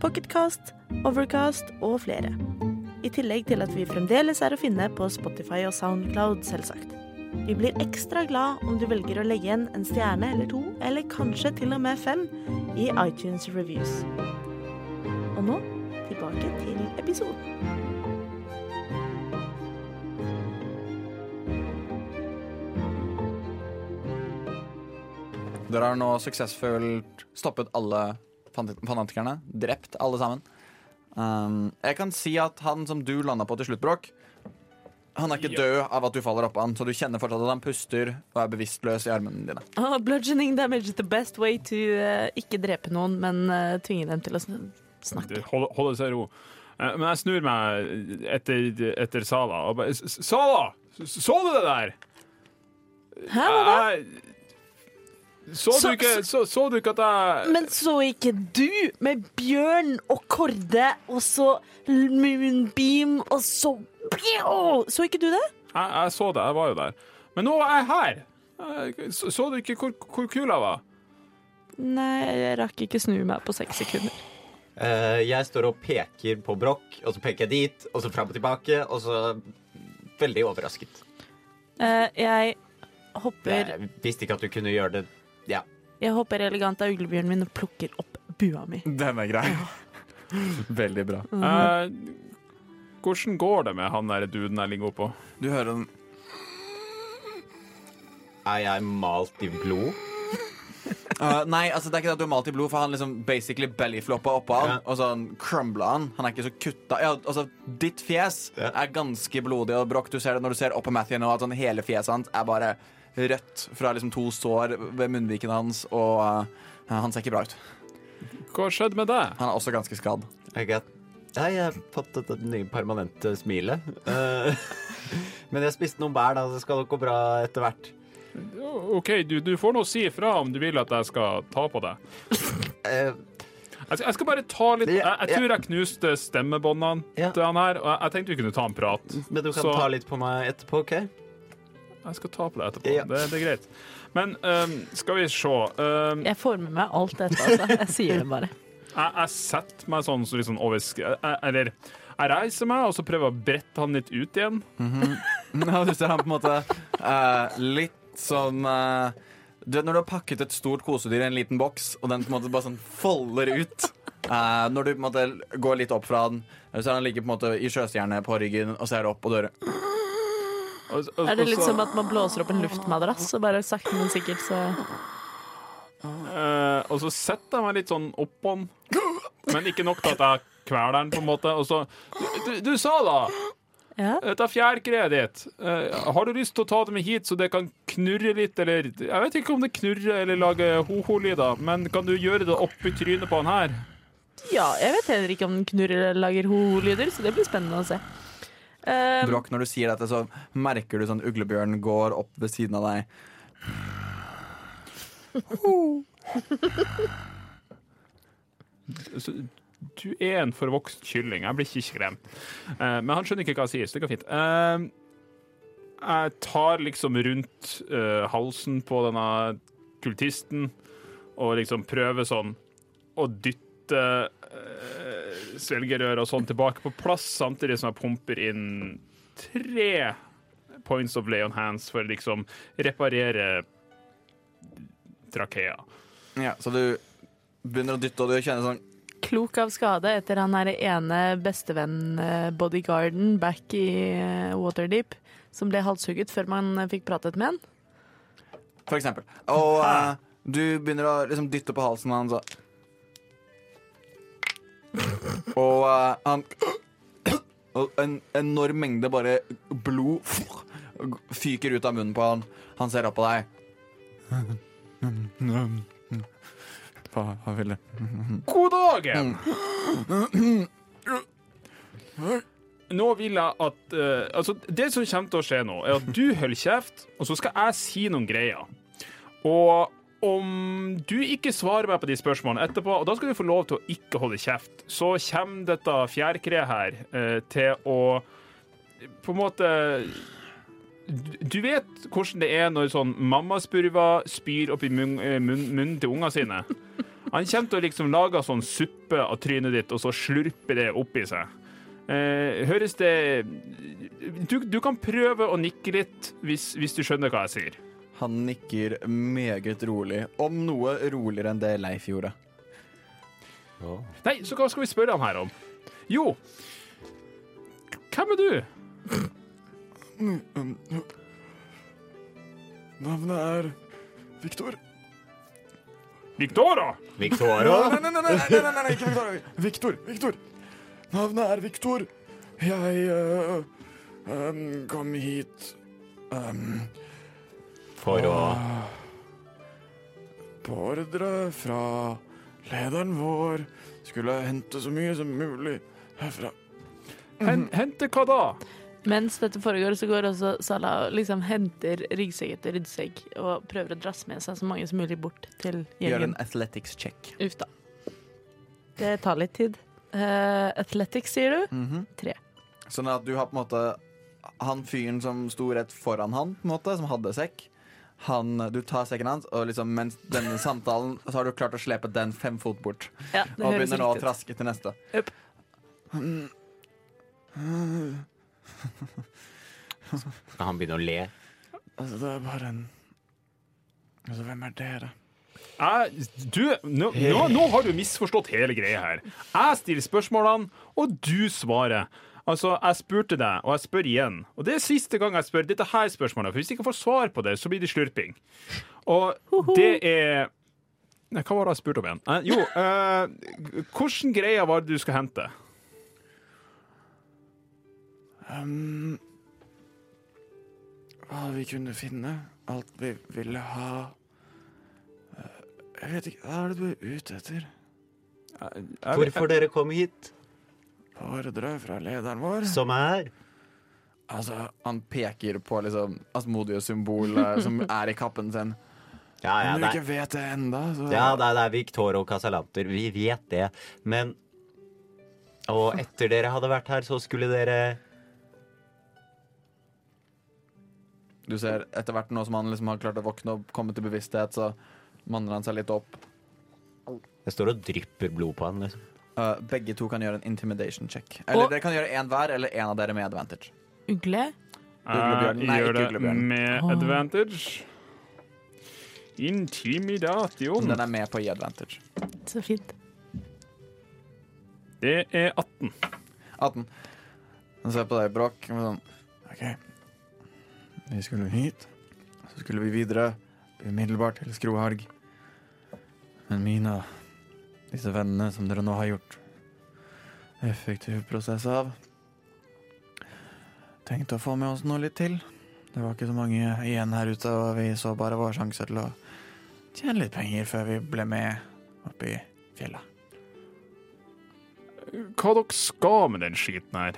Speaker 11: Pocketcast, Overcast og flere. I tillegg til at vi fremdeles er å finne på Spotify og Soundcloud, selvsagt. Vi blir ekstra glad om du velger å legge igjen en stjerne eller to, eller kanskje til og med fem, i iTunes Reviews. Og nå tilbake til episoden.
Speaker 8: Dere har nå suksessfullt stoppet alle fan- fanatikerne. Drept alle sammen. Um, jeg kan si at han som du landa på til slutt, Bråk Han er ikke
Speaker 7: Ja.
Speaker 8: død av at du faller oppå han, så du kjenner fortsatt at han puster og er bevisstløs i armene dine.
Speaker 3: Ah, bludgeoning damage is the best way to eh, ikke drepe noen, men eh, tvinge dem til å sn- snakke.
Speaker 7: Du, Hold, hold deg i ro. Eh, Men jeg snur meg etter, etter Sala og bare "S- Sala! S- Så du det der?
Speaker 3: Hæ, hva
Speaker 7: Ah.
Speaker 3: da?
Speaker 7: Jeg- Så du
Speaker 3: Så-
Speaker 7: ikke, så, så du ikke at jeg
Speaker 3: Men så ikke du med bjørn og korde og så moonbeam og så Pjo! Så ikke du det?
Speaker 7: Jeg, jeg så det, jeg var jo der. Men nå er jeg her! Jeg- Så, så du ikke hvor, hvor kul jeg var?
Speaker 3: Nei, jeg rakk ikke snu meg på seks sekunder.
Speaker 10: Eh, jeg står og peker på brokk, og så peker jeg dit, og så fram og tilbake, og så Veldig overrasket.
Speaker 3: Eh, jeg hopper
Speaker 10: Jeg visste ikke at du kunne gjøre det. Ja.
Speaker 3: Jeg hopper elegant av uglebjørnen min og plukker opp bua mi.
Speaker 7: Mm.
Speaker 8: Den er grei. Veldig bra.
Speaker 3: Mhm.
Speaker 7: Eh, hvordan går det med han der duden jeg ligger oppå?
Speaker 8: Du hører den
Speaker 10: Er jeg malt i blod?
Speaker 8: Eh, Nei, altså det er ikke det at du er malt i blod, for han liksom basically bellyfloppa oppå han,
Speaker 10: Ja.
Speaker 8: og så crumbla han. Han er ikke så kutta Ja, altså, ditt fjes
Speaker 10: Ja.
Speaker 8: er ganske blodig, og Broch, du ser det når du ser opp på Matthew nå, at sånn hele fjeset hans er bare rødt fra liksom to sår ved munnviken hans, og eh, han ser ikke bra ut.
Speaker 7: Hva har skjedd med deg?
Speaker 8: Han er også ganske skadd.
Speaker 10: Jeg got- Nei, jeg har fått dette nye permanente smilet. Eh, [LAUGHS] Men jeg spiste noen bær, da. så Det skal nok gå bra etter hvert.
Speaker 7: OK, du, du får nå si ifra om du vil at jeg skal ta på deg.
Speaker 10: Eh,
Speaker 7: Jeg skal, jeg skal bare ta litt Jeg, jeg tror jeg knuste stemmebåndene
Speaker 10: Ja.
Speaker 7: til han her, og jeg, jeg tenkte vi kunne ta en prat.
Speaker 10: Men du kan
Speaker 7: Så-
Speaker 10: ta litt på meg etterpå, OK?
Speaker 7: Jeg skal ta på det etterpå.
Speaker 10: Ja.
Speaker 7: Det, det er greit. Men øhm, skal vi se. Øhm, jeg,
Speaker 3: Jeg får med meg alt dette, altså. Jeg sier det
Speaker 7: [LAUGHS]
Speaker 3: bare.
Speaker 7: jeg setter meg sånn så litt sånn over sk- jeg- Eller jeg reiser meg og så prøver jeg å brette han litt ut igjen.
Speaker 8: [LAUGHS] Ja, du ser han på en måte eh, litt som eh, Du vet når du har pakket et stort kosedyr i en liten boks, og den på en måte bare sånn folder ut eh, Når du på en måte går litt opp fra den, så er han ligger på en måte i sjøstjerne på ryggen, og ser opp og dører.
Speaker 7: Og, og,
Speaker 3: Er det litt
Speaker 7: og så-
Speaker 3: som at man blåser opp en luftmadrass, og bare sakte, men sikkert så
Speaker 7: Eh, og så setter jeg meg litt sånn opp på han. Men ikke nok til at jeg kveler han, på en måte. Og så Du, du sa da
Speaker 3: Ja.
Speaker 7: dette fjærkreet ditt. eh, har du lyst til å ta det med hit, så det kan knurre litt, eller Jeg vet ikke om det knurrer eller lager ho-ho-lyder, men kan du gjøre det oppi trynet på han her?
Speaker 3: ja, jeg vet heller ikke om den knurrer eller lager ho-lyder, så det blir spennende å se. Eh,
Speaker 8: Brokk, når du sier dette, så merker du sånn uglebjørn går opp ved siden av deg.
Speaker 7: Så, du er en forvokst kylling. Jeg blir ikke skremt. Eh, men han skjønner ikke hva jeg sier, så det går fint. Eh, jeg tar liksom rundt eh, halsen på denne kultisten og liksom prøver sånn å dytte eh, svelgerøret og sånn tilbake på plass, samtidig som jeg pumper inn tre points of lay on hands for liksom reparere trakea.
Speaker 8: Ja, så du begynner å dytte, og du kjenner sånn
Speaker 3: klok av skade etter han her ene bestevenn-bodyguarden back i eh, Waterdeep, som ble halshugget før man eh, fikk pratet med han.
Speaker 8: For eksempel. Og eh, du begynner å liksom dytte på halsen hans og Og eh, han [COUGHS] Og en enorm mengde bare blod [COUGHS] fyker ut av munnen på han. Han ser opp på deg. Hva, hva vil du?
Speaker 7: God dagen! Nå vil jeg at eh, Altså, det som kommer til å skje nå, er at du holder kjeft, og så skal jeg si noen greier. Og om du ikke svarer meg på de spørsmålene etterpå, og da skal du få lov til å ikke holde kjeft, så kommer dette fjærkreet her eh, til å på en måte du- Du vet hvordan det er når sånn mammaspurver spyr opp i munn- eh, munn- munnen til ungene sine. Han kommer til å liksom lage sånn suppe av trynet ditt, og så slurpe det opp i seg. Eh, høres det du, du kan prøve å nikke litt hvis, hvis du skjønner hva jeg sier.
Speaker 8: Han nikker meget rolig, om noe roligere enn det Leif gjorde.
Speaker 7: Nei, så hva skal vi spørre han her om? Jo, hvem er du?
Speaker 8: Navnet er Viktor.
Speaker 7: Victora?
Speaker 1: Victoria?
Speaker 8: nei, nei, nei, nei, nei, nei, nei, ikke Victor. Victor, Victor. Navnet er Victor. Jeg eh, em, kom hit em,
Speaker 1: For å
Speaker 8: på ordre fra lederen vår. Skulle hente så mye som mulig herfra.
Speaker 7: Hen, hente hva da?
Speaker 3: Mens dette foregår, så går også Sala og liksom henter ryggsekk etter ryggsekk og prøver å drasse med seg så mange som mulig bort til
Speaker 8: Gjør
Speaker 3: gjengen.
Speaker 8: en athletics check.
Speaker 3: Uff da. Det tar litt tid. Eh, athletics, sier du? Tre.
Speaker 8: Mhm. Sånn at du har på en måte Han fyren som sto rett foran han, på en måte, som hadde sekk han, du tar sekken hans, og liksom, mens denne samtalen Så har du klart å slepe den fem fot bort.
Speaker 3: Ja, det
Speaker 8: Og
Speaker 3: høres
Speaker 8: begynner nå å
Speaker 3: riktig ut.
Speaker 8: traske til neste.
Speaker 3: Jep.
Speaker 1: Skal han begynne å le?
Speaker 8: Altså, det er bare en Altså, hvem er dere?
Speaker 7: Jeg, du, nå, nå, nå har du misforstått hele greia her. Jeg stiller spørsmålene, og du svarer. Altså, Jeg spurte deg, og jeg spør igjen. Og det er siste gang jeg spør dette her spørsmålet. For hvis jeg ikke får svar på det, så blir det slurping. Og det er Nei, Hva var det jeg spurte om igjen? Eh, jo, eh, hvordan greier var det du skal hente?
Speaker 8: Um, hva vi kunne finne? Alt vi ville ha Eh, Jeg vet ikke Hva er det du er ute etter?
Speaker 10: Hvorfor dere kom hit,
Speaker 8: På ordre fra lederen vår?
Speaker 10: som er
Speaker 8: Altså, han peker på liksom Asmodius-symbolet som er i kappen sin.
Speaker 10: Ja, ja,
Speaker 8: Om du
Speaker 10: det er,
Speaker 8: ikke vet det ennå, så
Speaker 10: ja, det er, det er Victor og Casalanter. Vi vet det. Men Og etter dere hadde vært her, så skulle dere
Speaker 8: Du ser etter hvert nå som han liksom har klart å våkne og komme til bevissthet, så manner han seg litt opp.
Speaker 10: Jeg står og drypper blod på han, liksom.
Speaker 8: Uh, begge to kan gjøre en intimidation check. Eller
Speaker 3: Og-
Speaker 8: dere kan gjøre én hver, eller én av dere med advantage.
Speaker 3: Ugle?
Speaker 8: Uglebjørnen.
Speaker 7: Jeg
Speaker 8: Nei,
Speaker 7: Eh, gjør
Speaker 8: ikke
Speaker 7: det
Speaker 8: uglebjørnen.
Speaker 7: med advantage. Intimidatio.
Speaker 8: Som den er med på i advantage.
Speaker 3: Så fint.
Speaker 7: Det er 18.
Speaker 8: 18. Han ser på deg, Bråk, og sånn OK. Vi skulle hit. Så skulle vi videre umiddelbart til Skroharg. Men mine disse vennene som dere nå har gjort effektiv prosess av Tenkte å få med oss noe litt til. Det var ikke så mange igjen her ute, og vi så bare vår sjanse til å tjene litt penger før vi ble med opp i fjellet.
Speaker 7: Hva dere skal med den skiten her?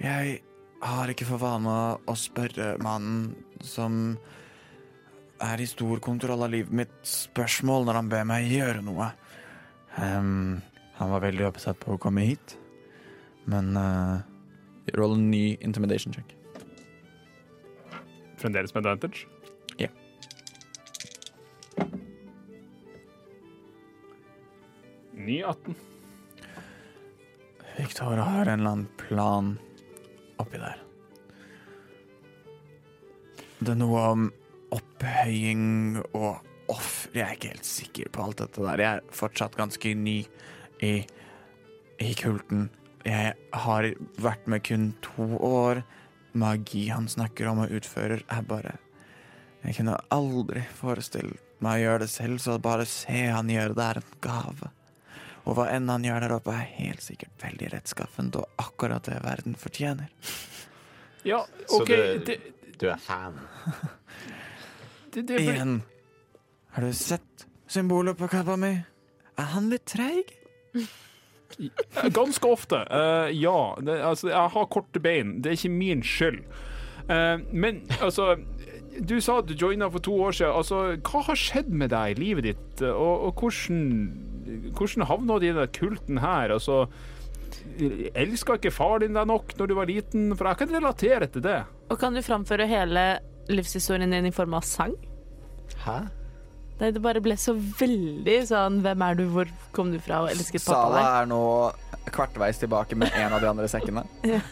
Speaker 8: Jeg har ikke for vane å spørre mannen som er i stor kontroll av livet mitt, spørsmål når han ber meg gjøre noe. Ehm, han var veldig oppsatt på å komme hit, men uh, Roll en ny intimidation check.
Speaker 7: Fremdeles med advantage?
Speaker 8: Ja.
Speaker 7: Ny 18.
Speaker 8: Victoria har en eller annen plan oppi der. Det er noe om opphøying og offer. Jeg er ikke helt sikker på alt dette der. Jeg er fortsatt ganske ny i, i kulten. Jeg har vært med kun to år.
Speaker 12: magi han snakker om og utfører, er bare Jeg kunne aldri forestilt meg å gjøre det selv, så bare se han gjøre det er en gave. Og hva enn han gjør der oppe, er helt sikkert veldig rettskaffent og akkurat det verden fortjener.
Speaker 7: Ja,
Speaker 1: Så
Speaker 7: OK.
Speaker 1: du-
Speaker 7: Det,
Speaker 1: Du er fan.
Speaker 7: det, det, blir-
Speaker 12: Igjen. Har du sett symbolet på kappa mi? Er han litt treig?
Speaker 7: Ganske ofte. eh, ja. Det, altså, jeg har korte bein. Det er ikke min skyld. Eh, men altså Du sa at du joina for to år siden. Altså, hva har skjedd med deg i livet ditt? Og, og hvordan, hvordan havna du i den kulten her? Altså, elska ikke far din deg nok når du var liten? For jeg kan relatere til det.
Speaker 3: Og kan du framføre hele livshistorien din i form av sang?
Speaker 1: Hæ?
Speaker 3: Nei, det bare ble så veldig sånn Hvem er du, hvor kom du fra, og elsket
Speaker 8: Sala
Speaker 3: pappa deg? [LAUGHS]
Speaker 8: er nå kvartveis tilbake med en av de andre sekkene.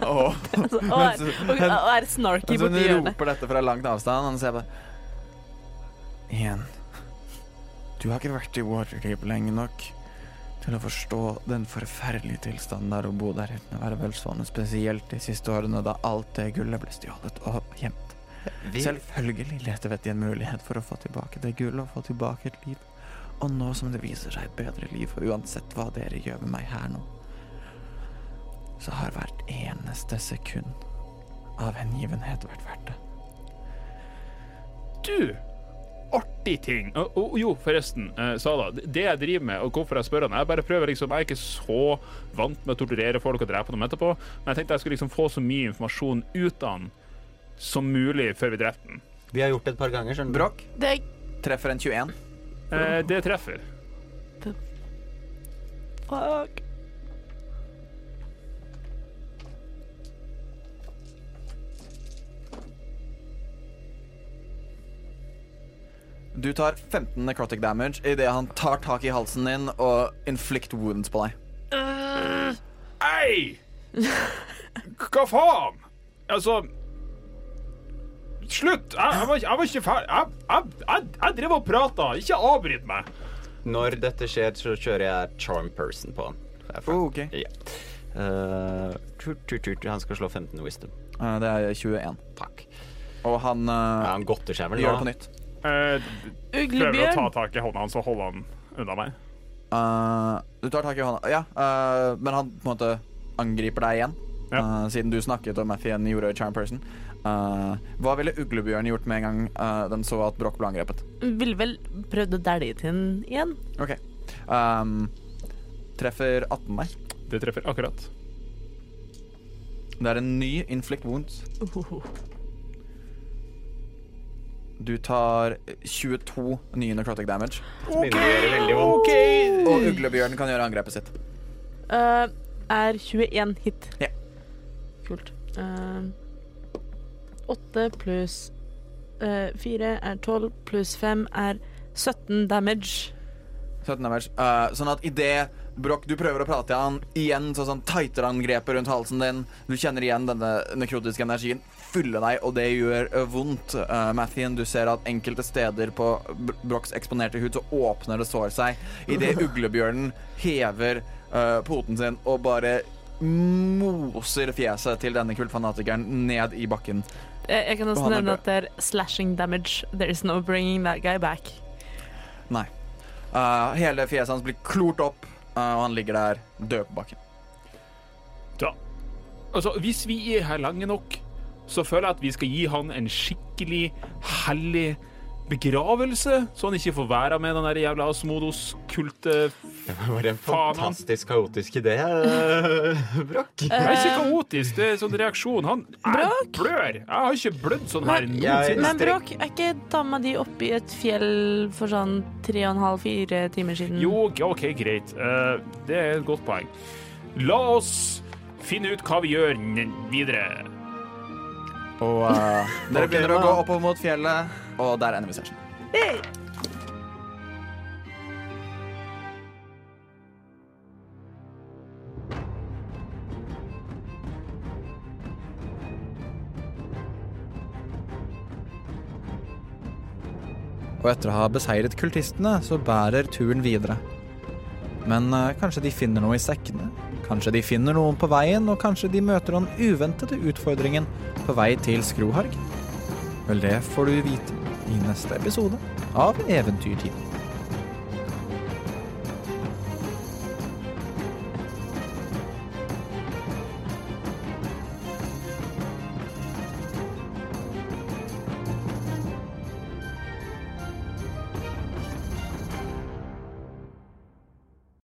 Speaker 3: Altså, og, er, og, og er snarky
Speaker 12: Altså,
Speaker 8: Så Altså, hun
Speaker 3: borti hjørnet.
Speaker 8: roper dette fra langt avstand. Han ser på
Speaker 12: Igjen. Du har ikke vært i Waterdeep lenge nok til å forstå den forferdelige tilstanden det er å bo der uten å være velstående, spesielt de siste årene da alt det gullet ble stjålet og gjemt. Selvfølgelig leter vi etter en mulighet for å få tilbake det gullet og få tilbake et liv. Og nå som det viser seg et bedre liv, og uansett hva dere gjør med meg her nå, så har hvert eneste sekund av hengivenhet vært verdt det.
Speaker 7: du artig ting. Og, og, jo, forresten, eh, Sala. Det jeg driver med, og hvorfor jeg spør han Jeg bare prøver liksom, jeg er ikke så vant med å torturere folk og drepe dem etterpå, men jeg tenkte jeg skulle liksom få så mye informasjon ut av han som mulig før vi drepte han.
Speaker 1: Vi har gjort det et par ganger, skjønner du.
Speaker 8: Brokk.
Speaker 3: Det er
Speaker 8: Treffer en 21.
Speaker 7: Eh, det treffer.
Speaker 3: fuck.
Speaker 8: Du tar 15 necrotic damage idet han tar tak i halsen din og inflict wounds på deg.
Speaker 7: Ei! Hva faen? Altså Slutt! Jeg, jeg, var, ikke- jeg var ikke ferdig. Jeg, jeg, jeg, jeg drev og prata. Ikke avbryt meg.
Speaker 1: Når dette skjer, så kjører jeg charm person på han. Det er fint.
Speaker 8: Oh, ok.
Speaker 1: Ja. Eh, tut, tut, tut. Han skal slå 15 wisdom.
Speaker 8: Eh, Det er 21.
Speaker 1: Takk.
Speaker 8: Og han eh,
Speaker 1: Ja, han godter seg vel
Speaker 8: gjør det på
Speaker 1: nå.
Speaker 8: nytt.
Speaker 7: Eh, prøver å ta
Speaker 3: Uglebjørn.
Speaker 7: tak i hånda hans og holde han unna meg.
Speaker 8: Eh, du tar tak i hånda Ja, eh, men han på en måte angriper deg igjen.
Speaker 7: Ja.
Speaker 8: Eh, siden du snakket om Mathien gjorde Charm Person. Eh, hva ville uglebjørn gjort med en gang eh, den så at Brokk ble angrepet?
Speaker 3: Ville vel prøvd å dælje til den igjen.
Speaker 8: OK. Um, treffer 18 deg.
Speaker 7: Det treffer akkurat.
Speaker 8: Det er en ny inflict wounds.
Speaker 3: Uhuhu.
Speaker 8: Du tar 22 nye necrotic damage.
Speaker 1: Ok.
Speaker 8: Og uglebjørnen kan gjøre angrepet sitt.
Speaker 3: Eh, er 21 hit.
Speaker 8: Ja.
Speaker 3: Kult. Eh, 8 pluss eh, 4 er 12, pluss 5 er 17 damage.
Speaker 8: 17 damage. Eh, sånn at idet Broch, du prøver å prate til han igjen, så sånn tighter han grepet rundt halsen din. Du kjenner igjen denne nekrotiske energien fylle deg, og det gjør eh, vondt. Uh, Mathien, du ser at enkelte steder på Br- Brochs eksponerte hud så åpner det sår seg idet uglebjørnen hever eh, poten sin og bare moser fjeset til denne kultfanatikeren ned i bakken.
Speaker 3: Eh, Jeg, jeg kan også
Speaker 8: Og han er
Speaker 3: nevne
Speaker 8: død.
Speaker 3: at det er slashing damage. There is no bringing that guy back.
Speaker 8: Nei. Eh, hele fjeset hans blir klort opp, eh, og han ligger der død på bakken.
Speaker 7: Da. Altså, hvis vi er her lange nok, så føler jeg at vi skal gi han en skikkelig hellig begravelse, så han ikke får være med den der jævla Asmodos-kulte
Speaker 1: Det [LAUGHS] var en
Speaker 7: Faen, han.
Speaker 1: fantastisk kaotisk idé, [LAUGHS] eh, Brokk.
Speaker 7: Det er ikke kaotisk, det er sånn reaksjon. Han jeg blør. Jeg har ikke blødd sånn her
Speaker 3: Men-
Speaker 1: Jeg-
Speaker 7: noensinne.
Speaker 3: Men Bråk, er ikke dama di oppe i et fjell for sånn 3,5-4 timer siden?
Speaker 7: Jo, g- OK, greit. Eh, det er et godt poeng. La oss finne ut hva vi gjør n- videre.
Speaker 8: Og eh, [LAUGHS] dere begynner å gå oppover mot fjellet, og der ender vi session. Og etter å ha beseiret kultistene, så bærer turen videre. Men eh, kanskje de finner noe i sekkene? Kanskje de finner noen på veien, og kanskje de møter den uventede utfordringen på vei til Skroharg. Vel, det får du vite i neste episode av Eventyrtimen.